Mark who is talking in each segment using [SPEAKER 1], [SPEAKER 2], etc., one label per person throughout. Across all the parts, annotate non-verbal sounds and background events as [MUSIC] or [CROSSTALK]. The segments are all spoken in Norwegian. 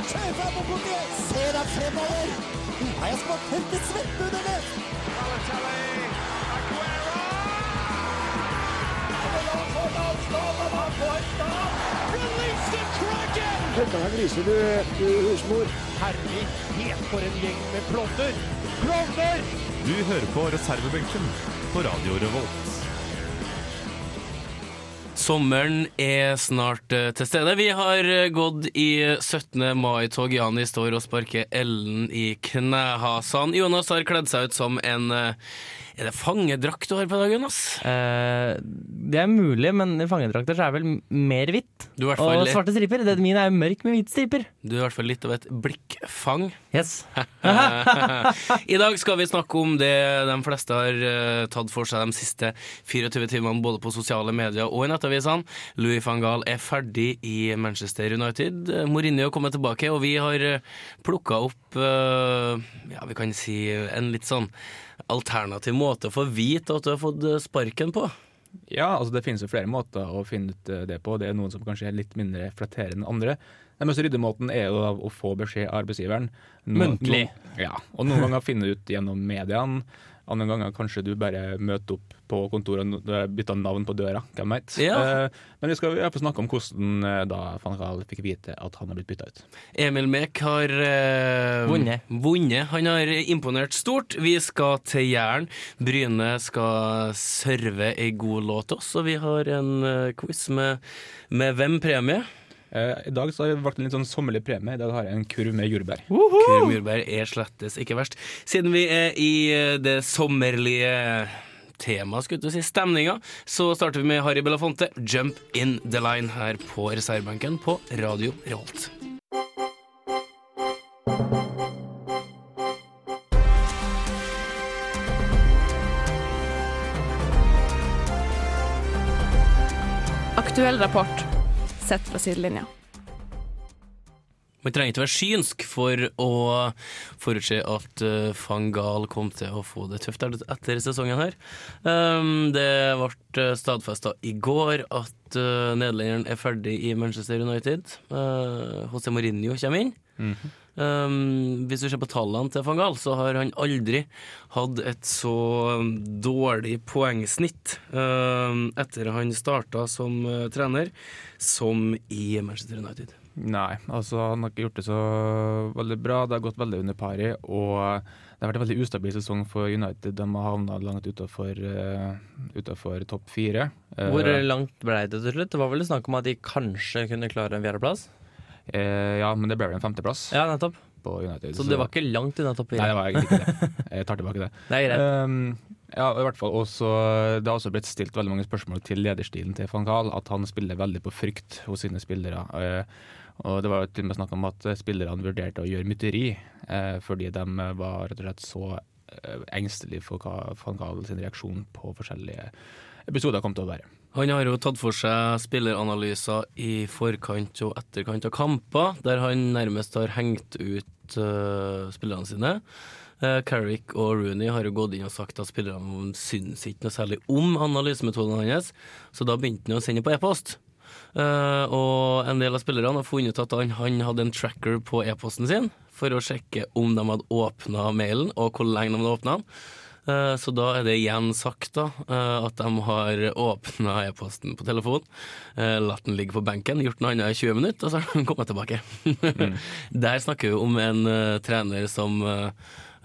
[SPEAKER 1] og borti! Se deg fremover! Nå har jeg små tørke svette under det! Kødda deg griser, du, du husmor.
[SPEAKER 2] Herlighet, for en gjeng med klovner! Klovner!
[SPEAKER 3] Du hører på reservebenken på Radio Revolt.
[SPEAKER 4] Sommeren er snart eh, til stede. Vi har eh, gått i 17. mai-tog. Jani står og sparker Ellen i knehasene. Jonas har kledd seg ut som en eh, Er det fangedrakt du har på deg, Jonas?
[SPEAKER 5] Eh, det er mulig, men i fangedrakter så er det vel m- mer hvitt.
[SPEAKER 4] Du er i hvert fall
[SPEAKER 5] Og
[SPEAKER 4] litt-
[SPEAKER 5] svarte striper. Det min er mørk med hvite striper.
[SPEAKER 4] Du er i hvert fall litt av et blikkfang.
[SPEAKER 5] Yes.
[SPEAKER 4] [LAUGHS] I dag skal vi snakke om det de fleste har eh, tatt for seg de siste 24 timene, både på sosiale medier og i nettavisene. Louis van Gaal er ferdig i Manchester United. Mourinho kommer tilbake, og vi har plukka opp eh, Ja, vi kan si en litt sånn alternativ måte å få vite at du har fått eh, sparken på.
[SPEAKER 6] Ja, altså det finnes jo flere måter å finne ut eh, det på. Det er noen som kanskje er litt mindre flatterende enn andre. Den beste ryddemåten er jo av å få beskjed av arbeidsgiveren. Noen-
[SPEAKER 5] Muntlig.
[SPEAKER 6] noen- Ja, og noen ganger finne ut gjennom mediene. Andre ganger kanskje du bare møter opp på kontoret og eh, bytter navn på døra. Hvem vet.
[SPEAKER 4] Ja.
[SPEAKER 6] Eh, Men vi skal i hvert fall snakke om hvordan eh, da van Gaal fikk vite at han har blitt bytta ut.
[SPEAKER 4] Emil Mek har eh,
[SPEAKER 5] Vunnet.
[SPEAKER 4] vunnet. Han har imponert stort. Vi skal til Jæren. Bryne skal serve ei god låt til oss, og vi har en eh, quiz med, med hvem premie.
[SPEAKER 6] Eh, I dag så har jeg valgt en litt sånn sommerlig premie. I dag har jeg en kurv med jordbær.
[SPEAKER 4] Kyrre Myrberg er slettes ikke verst. Siden vi er i eh, det sommerlige temaet, skulle du si, stemninga, så starter vi med Harry Belafonte, 'Jump In The Line', her på reservebenken på Radio Revolt.
[SPEAKER 7] Aktuell rapport sett fra sidelinja.
[SPEAKER 4] Man trenger ikke være synsk for å forutse at eh, van Gaal kom til å få det tøft et- etter sesongen her. Um, det ble stadfesta i går at eh, nederlenderen er ferdig i Manchester United. Eh, José Mourinho kommer inn. Um, hvis du ser på tallene til van Gaal, så har han aldri hatt et så dårlig poengsnitt um, etter han starta som eh, trener, som i Manchester United.
[SPEAKER 6] Nei, altså han har ikke gjort det så veldig bra. Det har gått veldig under pari, og det har vært en veldig ustabil sesong for United. De har havna langt utafor eh, topp fire. Eh,
[SPEAKER 5] Hvor langt ble det til slutt? Det var vel snakk om at de kanskje kunne klare en fjerdeplass?
[SPEAKER 6] eh, ja, men det ble vel en femteplass
[SPEAKER 5] Ja, nettopp.
[SPEAKER 6] på United.
[SPEAKER 5] Så det var ikke langt unna topp
[SPEAKER 6] Nei,
[SPEAKER 5] fire.
[SPEAKER 6] det var egentlig ikke
[SPEAKER 5] [LAUGHS]
[SPEAKER 6] det. Jeg tar tilbake det.
[SPEAKER 5] Det er greit.
[SPEAKER 6] Um, ja, og i hvert fall også, Det har også blitt stilt veldig mange spørsmål til lederstilen til van Gaal. At han spiller veldig på frykt hos sine spillere. Eh, og Det var jo til og med snakk om at eh, spillerne vurderte å gjøre mytteri eh, fordi de var rett og slett så eh, engstelige for hva van Gaal sin reaksjon på forskjellige episoder kom til å være.
[SPEAKER 4] Han har jo tatt for seg spilleranalyser i forkant og etterkant av kamper, der han nærmest har hengt ut eh, spillerne sine. Eh, Carrick og Rooney har jo gått inn og sagt at spillerne syns ikke noe særlig om analysemetodene hans, så da begynte han å sende på e-post. Eh, og en del av spillerne har funnet ut at han, han hadde en tracker på e-posten sin for å sjekke om de hadde åpna mailen, og hvor lenge de hadde åpna den. Eh, Så da er det igjen sagt da, eh, at de har åpna e-posten på telefon, eh, latt den ligge på benken, gjort noe annet i 20 minutter, og så har de kommet tilbake. [LAUGHS] Der snakker vi om en eh, trener som eh,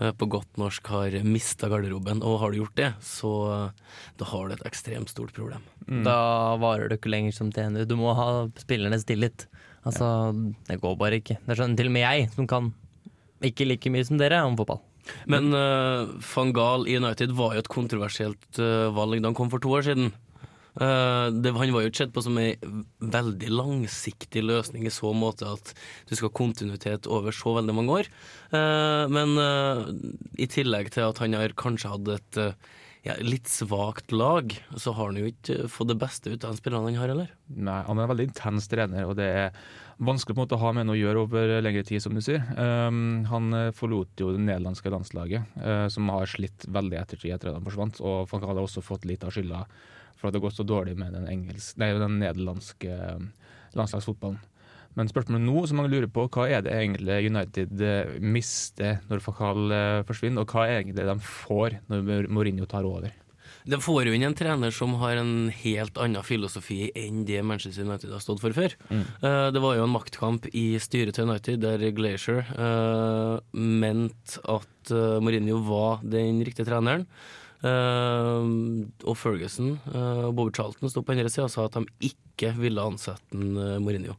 [SPEAKER 4] eh, på godt norsk har mista garderoben, og har du gjort det, så eh, da har du et ekstremt stort problem.
[SPEAKER 5] Mm. Da varer du ikke lenger som trener. Du må ha spillernes tillit. Altså, det går bare ikke. Det skjønner til og med jeg, som kan ikke like mye som dere om fotball.
[SPEAKER 4] Men eh, van Gaal i United var jo et kontroversielt eh, valg da han kom for to år siden. Eh, det, han var jo ikke sett på som ei veldig langsiktig løsning i så måte at du skal ha kontinuitet over så veldig mange år. Eh, men eh, i tillegg til at han har kanskje hatt et eh, ja, litt svakt lag, så har han jo ikke fått det beste ut av de spillerne han har heller.
[SPEAKER 6] Nei, han er en veldig intens trener, og det er vanskelig på en måte å ha med noe å gjøre over lengre tid, som du sier. Um, han eh, forlot jo det nederlandske landslaget, eh, som har slitt veldig i ettertid etter at han forsvant. Og Van Gaal har også fått litt av skylda for at det har gått så dårlig med den, engelsk, nei, den nederlandske eh, landslagsfotballen. Men spørsmålet nå som mange lurer på, hva er det egentlig United eh, mister når Fakal eh, forsvinner, og hva er egentlig de får når Mou- Mourinho tar over?
[SPEAKER 4] De får jo inn en trener som har en helt annen filosofi enn det Manchester United har stått for før. Eh, Det var jo en maktkamp i styret til United der Glacier eh, mente at eh, Mourinho var den riktige treneren. Eh, og Ferguson eh, og Bobby Charlton sto på andre sida og sa at de ikke ville ansette en, eh, Mourinho.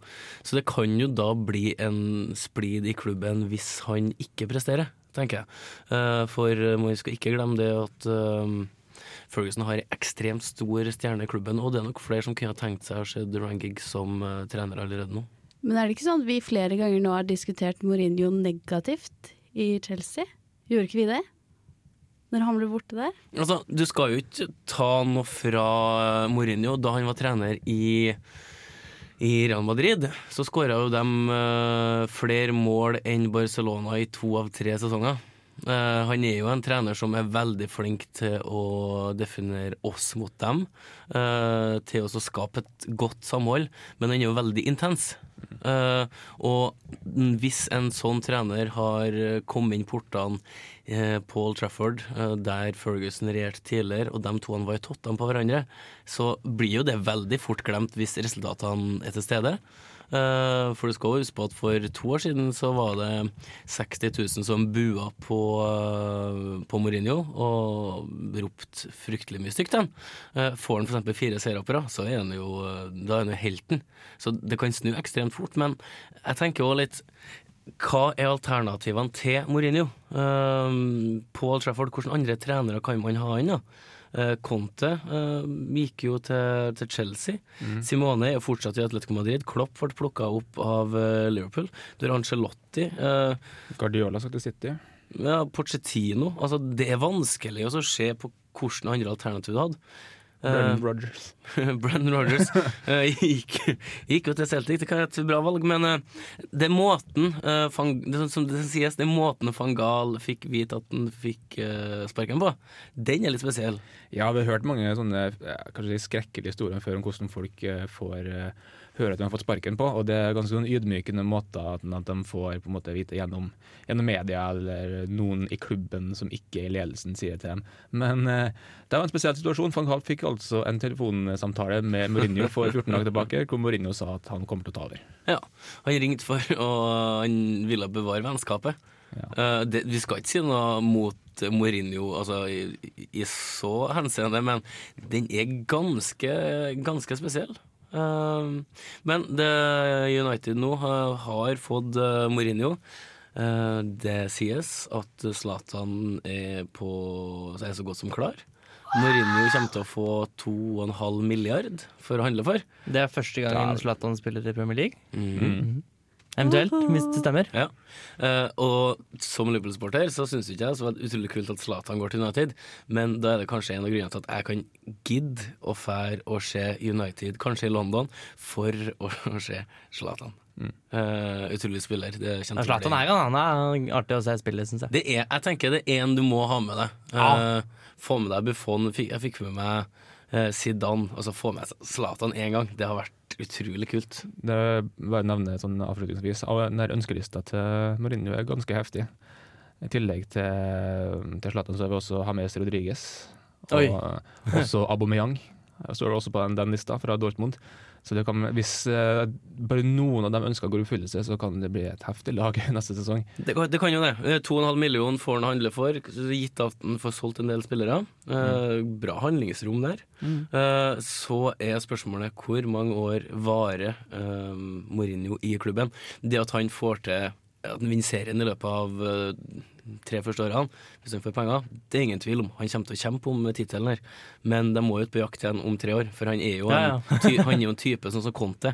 [SPEAKER 4] Så det kan jo da bli en splid i klubben hvis han ikke presterer, tenker jeg. Eh, for eh, man skal ikke glemme det at eh, Ferguson har en ekstremt stor stjerne i klubben, og det er nok flere som kunne ha tenkt seg å se Duran Giggs som eh, trener allerede nå.
[SPEAKER 8] Men er det ikke sånn at vi flere ganger nå har diskutert Mourinho negativt i Chelsea? Gjorde ikke vi det? Når han ble borte der?
[SPEAKER 4] Altså, Du skal jo ikke ta noe fra eh, Mourinho. Da han var trener i, i Real Madrid, så skåra jo de flere mål enn Barcelona i to av tre sesonger. Eh, han er jo en trener som er veldig flink til å definere oss mot dem. eh, til å så skape et godt samhold, men han er jo veldig intens. Eh, og hvis en sånn trener har eh, kommet inn portene eh, på Old Trafford, eh, der Ferguson regjerte tidligere, og de to han var i tottene på hverandre, så blir jo det veldig fort glemt hvis resultatene er til stede. Eh, For du skal jo huske på at for to år siden så var det 60 000 som bua på, eh, på Mourinho og ropte fryktelig mye stygt til ham. Får han f.eks. fire seere på rad, så er han jo, eh, da er han jo helten. Så det kan snu ekstremt fort. Men jeg tenker også litt hva er alternativene til Mourinho? Um, på Old Trafford, hvilke andre trenere kan man ha inn? da? Eh, Conte eh, gikk jo til, til Chelsea. Simone er fortsatt i Atletico Madrid. Klopp ble plukka opp av eh, Liverpool. Du har Ancelotti. eh,
[SPEAKER 6] Guardiola skal til City.
[SPEAKER 4] ja, Pochettino. Altså, det er vanskelig å så se på hvilke andre alternativ du hadde. Eh,
[SPEAKER 6] Brendan Rodgers.
[SPEAKER 4] [LAUGHS] Brendan Rogers Eh, gikk, gikk jo til Celtic, det kan være et bra valg, men eh, det er måten eh, van, det, som- Som det sies, det er måten van Gaal fikk vite at han fikk eh, sparken på. Den er litt spesiell.
[SPEAKER 6] Ja, vi har hørt mange sånne eh, kanskje si skrekkelige historier før om hvordan folk eh, får eh, høre at de har fått sparken på, og det er ganske sånn ydmykende måter at, at de får på en måte vite gjennom, gjennom media eller noen i klubben som ikke i ledelsen sier det til dem. Men eh, det var en spesiell situasjon. Van Gaal fikk altså en telefonsamtale med Mourinho for 14 dager tilbake, hvor Mourinho sa at han kommer til å ta over.
[SPEAKER 4] Ja, Han ringte for og han ville bevare vennskapet. Eh, det, vi skal ikke si noe mot Mourinho altså, i, i så henseende, men den er ganske, ganske spesiell. Eh, men det United nå har, har fått eh, Mourinho. Eh, det sies at Zlatan er, på, er så godt som klar. Mourinho kommer til å få 2,5 milliard for å handle for.
[SPEAKER 5] Det er første
[SPEAKER 6] Ja.
[SPEAKER 5] gangen Zlatan spiller i Premier League. Mhm. Eventuelt, hvis det stemmer.
[SPEAKER 4] Ja. Eh, og som Liverpool-supporter så syns ikke jeg så var det utrolig kult at Zlatan går til United, men da er det kanskje en av grunnene til at jeg kan gidde å fære og se United, kanskje i London, for å [LAUGHS] se Zlatan. Eh, utrolig spiller. Det kjente
[SPEAKER 5] Ja, Zlatan er, han er artig å se spille, syns jeg.
[SPEAKER 4] det er, jeg tenker det er en du må ha med deg.
[SPEAKER 5] Ja.
[SPEAKER 4] Eh, få med deg Buffon. Fikk- Jeg fikk med meg eh, Zidane. Altså få med seg Zlatan én gang. Det har vært utrolig kult.
[SPEAKER 6] Det er bare å nevne sånn avslutningsvis. av- Den her ønskelista til Mourinho er ganske heftig. I tillegg til, til Zlatan så har vi også Hames Rodriguez.
[SPEAKER 4] Oi.
[SPEAKER 6] Og [LAUGHS] også Aubameyang. Jeg står også på den, den lista fra Dortmund. Så det kan, hvis eh, bare noen av de ønskene går i oppfyllelse, så kan det bli et heftig lag [LAUGHS] neste sesong.
[SPEAKER 4] Det, kan- det kan jo det. Eh, 2,5 millioner får han handle for, gitt at han får solgt en del spillere. Eh, bra handlingsrom der.
[SPEAKER 5] Mm.
[SPEAKER 4] Eh, så er spørsmålet hvor mange år varer eh, Mourinho i klubben? Det at han får til at han vinner serien i løpet av eh, tre første årene, hvis han får penger, det er ingen tvil om. Han kommer til å kjempe om tittelen her, men de må jo ut på jakt igjen om tre år, for han er jo en,
[SPEAKER 5] Ja, ja. Mm.
[SPEAKER 4] ty, han er jo en type sånn som
[SPEAKER 5] [LAUGHS]
[SPEAKER 4] Conte,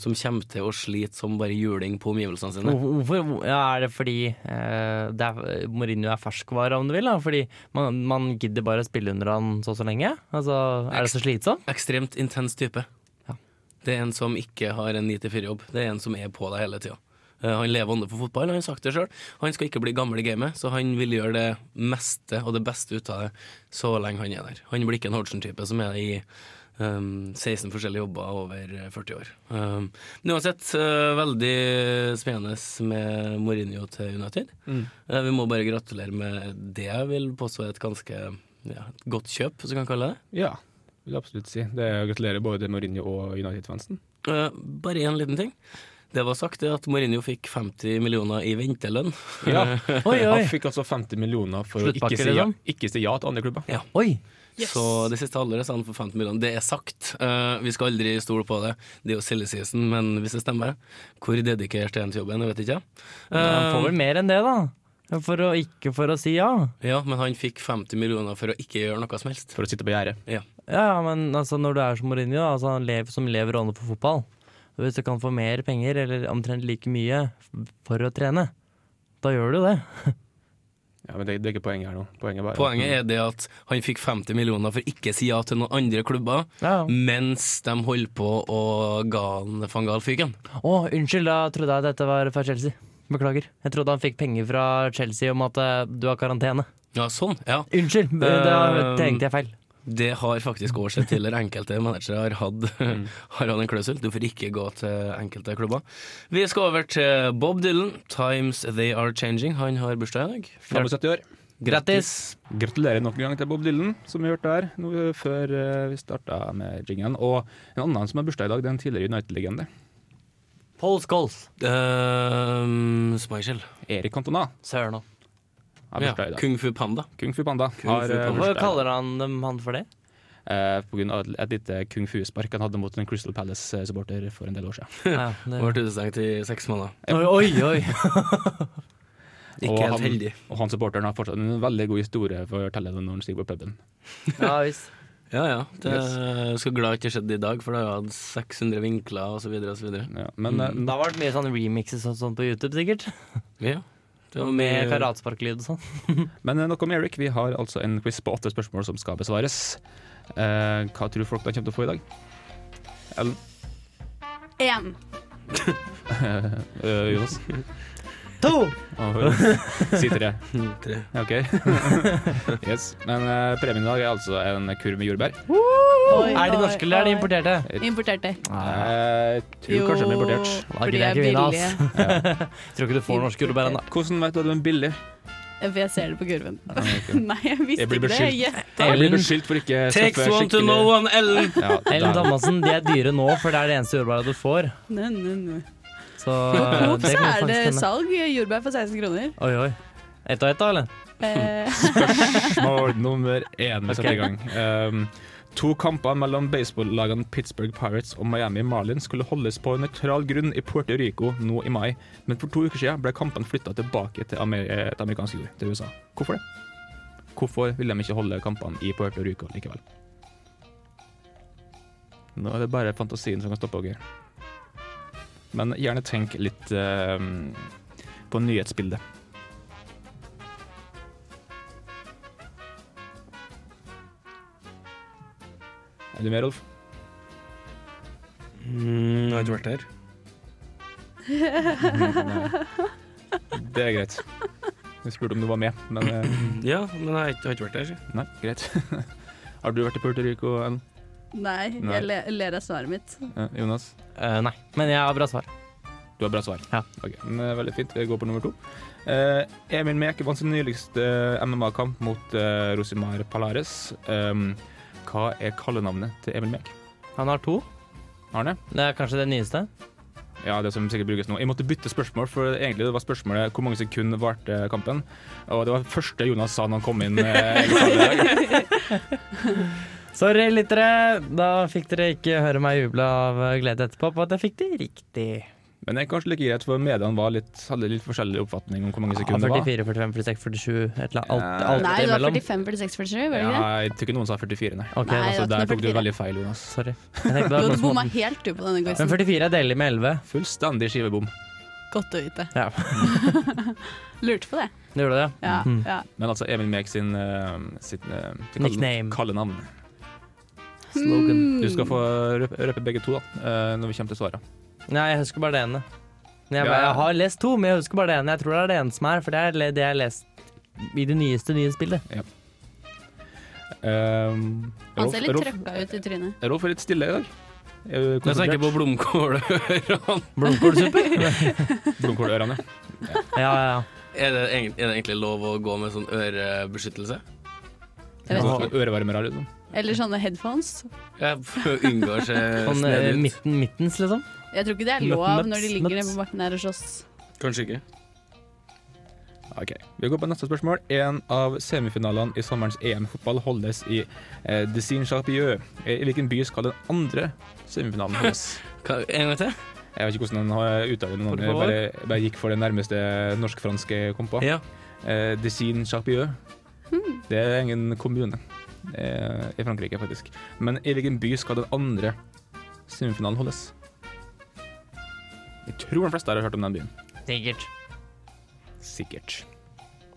[SPEAKER 4] som kommer til å slite som bare juling på omgivelsene sine.
[SPEAKER 5] Hvorfor, hvor- ja, er det fordi eh, det er, Mourinho er ferskvare, om du vil? Da? Fordi man, man gidder bare å spille under han så og så lenge? Altså, er det så slitsomt?
[SPEAKER 4] Ekstremt intens type.
[SPEAKER 5] Ja.
[SPEAKER 4] Det er en som ikke har en 9-4-jobb. Det er en som er på deg hele tida. Eh, Han lever ånde for fotball, han har sagt det sjøl. Han skal ikke bli gammel i gamet, så han vil gjøre det meste og det beste ut av det så lenge han er der. Han blir ikke en Hodgson-type som er i um, 16 forskjellige jobber over 40 år. Um, men uansett, eh, veldig spennende med Mourinho til United. Eh, vi må bare gratulere med det jeg vil påstå er et ganske ja, et godt kjøp, hvis du kan kalle det.
[SPEAKER 6] Ja, vil jeg absolutt si. Det er- Gratulerer både Mourinho og United-fansen.
[SPEAKER 4] Eh, bare én liten ting. Det var sagt det at Mourinho fikk 50 millioner i ventelønn.
[SPEAKER 6] Ja.
[SPEAKER 5] Oi, oi.
[SPEAKER 6] [LAUGHS] Han fikk altså 50 millioner for å
[SPEAKER 5] Sluttpakke,
[SPEAKER 6] ikke si, ja,
[SPEAKER 5] liksom?
[SPEAKER 6] ikke si ja til andre klubber.
[SPEAKER 5] Oi!
[SPEAKER 4] Så det siste halvåret sa han for 50 millioner. Det er sagt. Eh, vi skal aldri stole på det. Det er jo sildeseason, men hvis det stemmer Hvor dedikert er han til jobben? Jeg vet ikke. Eh,
[SPEAKER 5] Han får vel mer enn det, da. For å, ikke for å si ja.
[SPEAKER 4] Ja, men han fikk 50 millioner for å ikke gjøre noe som helst.
[SPEAKER 6] For å sitte på gjerdet.
[SPEAKER 5] Ja, ja, men altså, når du er som Mourinho, da, altså, han lever, som lever ånda for fotball og Hvis du kan få mer penger, eller omtrent like mye, for å trene, da gjør du det.
[SPEAKER 6] Ja, men det, det er ikke poenget her nå. Poenget, er bare,
[SPEAKER 4] Poenget er det at han fikk 50 millioner for ikke å si ja til noen andre klubber,
[SPEAKER 5] Ja.
[SPEAKER 4] mens de holdt på å ga han fangalfyken.
[SPEAKER 5] Å, unnskyld, da trodde jeg dette var fra Chelsea. Beklager. Jeg trodde han fikk penger fra Chelsea om at eh, du har karantene.
[SPEAKER 4] Ja, sånn. Ja.
[SPEAKER 5] Unnskyld, da
[SPEAKER 4] Eh,
[SPEAKER 5] tenkte jeg feil.
[SPEAKER 4] Det har faktisk år sett tidligere. Enkelte managere har hatt, [LAUGHS]
[SPEAKER 6] Mm.
[SPEAKER 4] har hatt en klausul. Du får ikke gå til enkelte klubber. Vi skal over til Bob Dylan, 'Times They Are Changing'. Han har bursdag i dag.
[SPEAKER 6] Han er 70 år.
[SPEAKER 5] Grattis!
[SPEAKER 6] Gratulerer nok en gang til Bob Dylan, som vi hørte her nå, eh, før eh, vi starta med jingen. Og en annen som har bursdag i dag, det er en tidligere United-legende.
[SPEAKER 5] Paul Scholes.
[SPEAKER 4] Uh, Smigel.
[SPEAKER 6] Erik Cantona
[SPEAKER 5] Søren òg.
[SPEAKER 6] har
[SPEAKER 4] Ja.
[SPEAKER 6] bursdag i dag.
[SPEAKER 4] Kung Fu Panda.
[SPEAKER 6] Kung Fu Panda har
[SPEAKER 4] Fu
[SPEAKER 6] eh,
[SPEAKER 4] Panda.
[SPEAKER 5] Hvorfor
[SPEAKER 6] bursdag.
[SPEAKER 5] kaller han dem han for [LAUGHS] det?
[SPEAKER 6] Eh, på grunn av et, et lite kung fu-spark han hadde mot en Crystal Palace-supporter for en del år siden.
[SPEAKER 5] Ja, det...
[SPEAKER 4] Ble utestengt i seks måneder.
[SPEAKER 5] Oi, oi! oi.
[SPEAKER 4] Ikke
[SPEAKER 6] Og
[SPEAKER 4] helt
[SPEAKER 6] han-
[SPEAKER 4] heldig.
[SPEAKER 6] Og han supporteren har fortsatt en veldig god historie for å fortelle den når han stiger på puben.
[SPEAKER 5] Ja, visst.
[SPEAKER 4] Ja, ja. Det jeg skal glad ikke skjedde i dag, for da har jeg hatt 600 vinkler osv. osv.
[SPEAKER 6] Ja, men eh,
[SPEAKER 5] Da var det mye sånn remixes og sånn på YouTube, sikkert.
[SPEAKER 4] Ja. Det var
[SPEAKER 5] Med
[SPEAKER 4] mye-
[SPEAKER 5] karatsparklyd og sånn.
[SPEAKER 6] Men eh, nok om Eric. Vi har altså en quiz på åtte spørsmål som skal besvares. Eh, hva tror folk de kommer til å få i dag? Ellen?
[SPEAKER 8] Én.
[SPEAKER 6] Eh, Jonas?
[SPEAKER 5] To!
[SPEAKER 6] Og Jonas? Si tre.
[SPEAKER 4] [LAUGHS] Tre.
[SPEAKER 6] Ja, OK. yes. Men eh, premien i dag er altså en kurv med jordbær.
[SPEAKER 5] Er de norske eller er de importerte?
[SPEAKER 8] Importerte.
[SPEAKER 4] Ah.
[SPEAKER 6] Eh, tror kanskje den blir importert.
[SPEAKER 5] Da gidder jeg ikke vinne, ass.
[SPEAKER 6] altså?
[SPEAKER 5] Tror ikke du får norske jordbær ennå.
[SPEAKER 6] Hvordan vet du at de er billig?
[SPEAKER 8] [LAUGHS] For jeg ser det på kurven.
[SPEAKER 6] ok.
[SPEAKER 8] [LAUGHS] Nei, jeg visste
[SPEAKER 6] Jeg blir
[SPEAKER 8] ikke det.
[SPEAKER 6] beskyldt.
[SPEAKER 8] Jeg-
[SPEAKER 6] Jeg blir
[SPEAKER 5] Ellen,
[SPEAKER 6] beskyldt for ikke å
[SPEAKER 4] Takes
[SPEAKER 6] skaffe
[SPEAKER 4] one to
[SPEAKER 6] skikkelig-
[SPEAKER 4] know one, [LAUGHS] Ellen!
[SPEAKER 6] Ja,
[SPEAKER 5] Ellen
[SPEAKER 6] da-
[SPEAKER 5] Thomassen, de er dyre nå, for det er det eneste jordbæret du får.
[SPEAKER 8] Nei, nei, nei.
[SPEAKER 5] Så [LAUGHS] eh,
[SPEAKER 8] Coop
[SPEAKER 5] det
[SPEAKER 8] så
[SPEAKER 5] kan
[SPEAKER 8] er
[SPEAKER 5] faktisk
[SPEAKER 8] det
[SPEAKER 5] hende.
[SPEAKER 8] salg. Jordbær for 16 kroner.
[SPEAKER 5] [LAUGHS] Oi, oi. Ett og ett, da, eller?
[SPEAKER 8] Eh, [LAUGHS]
[SPEAKER 6] Spørsmål nummer én vi setter
[SPEAKER 5] Ok.
[SPEAKER 6] i gang. Ehm, to kamper mellom baseballagene Pittsburgh Pirates og Miami Marlins skulle holdes på nøytral grunn i Puerto Rico nå i mai, men for to uker siden ble kampene flytta tilbake til, Amer eh, til amerikansk jord, til USA. Hvorfor det? Hvorfor vil de ikke holde kampene i Puerto Rico likevel? Nå er det bare fantasien som kan stoppe dere. Men gjerne tenk litt ehm, på nyhetsbildet. Er du med, Rolf?
[SPEAKER 4] Mm, jeg har ikke vært her.
[SPEAKER 6] [LAUGHS] Det er greit. Jeg spurte om du var med, men eh,
[SPEAKER 4] Ja, men jeg har ikke- jeg har ikke vært her.
[SPEAKER 6] nei, greit. [LAUGHS] Har du vært i Puerto Rico, Ellen?
[SPEAKER 8] nei,
[SPEAKER 6] Nei.
[SPEAKER 8] jeg le- ler av svaret mitt.
[SPEAKER 6] Eh, Jonas?
[SPEAKER 5] Eh, nei, men jeg har bra svar.
[SPEAKER 6] Du har bra svar.
[SPEAKER 5] Ja.
[SPEAKER 6] Ok, men, eh, veldig fint. Vi går på nummer to. Eh, Emil Mek vant sin nyligste eh, MMA-kamp mot eh, Rosimar Palares. Um, hva er kallenavnet til Emil Mek?
[SPEAKER 5] Han har to.
[SPEAKER 6] Arne?
[SPEAKER 5] Det er kanskje det nyeste.
[SPEAKER 6] Ja, det som sikkert brukes nå. Jeg måtte bytte spørsmål, for egentlig det var spørsmålet hvor mange sekunder varte kampen. Og det var det første Jonas sa når han kom inn. Eh,
[SPEAKER 5] Sorry, lyttere. Da fikk dere ikke høre meg juble av eh, glede etterpå på at jeg fikk det riktig.
[SPEAKER 6] men det er kanskje like greit, for mediene var litt, hadde litt forskjellig oppfatning om hvor mange
[SPEAKER 5] Ja,
[SPEAKER 6] sekunder det var.
[SPEAKER 5] 44, 45, 46, 47, et eller annet. Alt,
[SPEAKER 6] Ja.
[SPEAKER 5] alt
[SPEAKER 8] Nei, det var
[SPEAKER 5] imellom.
[SPEAKER 8] 45, 46, 47, var det ikke det?
[SPEAKER 6] Ja, jeg tror ikke noen sa 44, nei.
[SPEAKER 5] Ok, da,
[SPEAKER 8] Nei,
[SPEAKER 6] Altså,
[SPEAKER 8] det var
[SPEAKER 6] der
[SPEAKER 8] ikke
[SPEAKER 6] tok du
[SPEAKER 8] noe 44.
[SPEAKER 6] veldig feil, Jonas.
[SPEAKER 5] sorry. Jeg tenkte det var
[SPEAKER 8] Jo,
[SPEAKER 5] på
[SPEAKER 8] [LAUGHS] du bomma
[SPEAKER 5] småten.
[SPEAKER 8] helt du på denne
[SPEAKER 5] Men
[SPEAKER 8] quizen.
[SPEAKER 5] 44 er delig med 11.
[SPEAKER 6] Fullstendig skivebom.
[SPEAKER 8] Godt å vite.
[SPEAKER 5] Ja.
[SPEAKER 8] [LAUGHS] Lurte på det.
[SPEAKER 5] Det gjorde det,
[SPEAKER 8] Ja,
[SPEAKER 5] Mm.
[SPEAKER 8] ja.
[SPEAKER 6] Men altså Emil Mek sin, eh, sitt, eh, sitt kalle-
[SPEAKER 5] Nickname.
[SPEAKER 6] kallenavn.
[SPEAKER 8] Mm.
[SPEAKER 5] Slogan.
[SPEAKER 6] Du skal få røpe, røpe begge to da, eh, når vi kommer til svarene.
[SPEAKER 5] Nei, jeg husker bare det ene. Men Jeg,
[SPEAKER 6] Ja.
[SPEAKER 5] jeg har lest to, men jeg husker bare det ene. Jeg
[SPEAKER 8] [LAUGHS]
[SPEAKER 5] tror det er det ene som er, for det er le- det jeg har lest i det nyeste nye spillet.
[SPEAKER 3] Um,
[SPEAKER 8] Han
[SPEAKER 6] Eh,
[SPEAKER 8] ser litt
[SPEAKER 3] Rolf-
[SPEAKER 8] trøkka ut i trynet.
[SPEAKER 3] Rolf- Rolf er litt stille i dag. Er du
[SPEAKER 4] Jeg tenker på
[SPEAKER 3] konsentrert?
[SPEAKER 4] blomkålørene.
[SPEAKER 5] Blomkålsuppe?
[SPEAKER 3] Blomkålørene.
[SPEAKER 5] ja, ja, ja.
[SPEAKER 4] Er, det egent- er det egentlig lov å gå med sånn ørebeskyttelse?
[SPEAKER 8] Jeg vet
[SPEAKER 3] Sånn Ørevarmere, liksom.
[SPEAKER 8] ikke. Eller sånne headphones.
[SPEAKER 4] Jeg prøver å unngå å
[SPEAKER 5] [LAUGHS]
[SPEAKER 4] se
[SPEAKER 5] Sånn eh,
[SPEAKER 4] snedig ut.
[SPEAKER 5] midten, middens, liksom.
[SPEAKER 8] Jeg tror ikke det er
[SPEAKER 5] Nup-
[SPEAKER 8] lov
[SPEAKER 5] nups,
[SPEAKER 8] når de ligger nede
[SPEAKER 5] nups.
[SPEAKER 8] på bakken her hos oss.
[SPEAKER 4] Kanskje ikke.
[SPEAKER 3] Ok, Vi går på neste spørsmål. En av semifinalene i sommerens EM i fotball holdes i eh, Dessin-Charpieu. I hvilken by skal den andre semifinalen holdes?
[SPEAKER 4] Hva- En gang til?
[SPEAKER 3] Jeg vet ikke hvordan den har uttaler
[SPEAKER 4] Får
[SPEAKER 3] navnet.
[SPEAKER 4] du
[SPEAKER 3] Jeg
[SPEAKER 4] på
[SPEAKER 3] bare, jeg bare gikk for det nærmeste norsk-franske jeg kom på.
[SPEAKER 4] Ja.
[SPEAKER 3] Eh, Dessin Charpieu. Det er ingen kommune eh, i Frankrike, faktisk. Men i hvilken by skal den andre semifinalen holdes? Jeg tror de fleste her har hørt om den byen.
[SPEAKER 5] Sikkert.
[SPEAKER 3] Sikkert.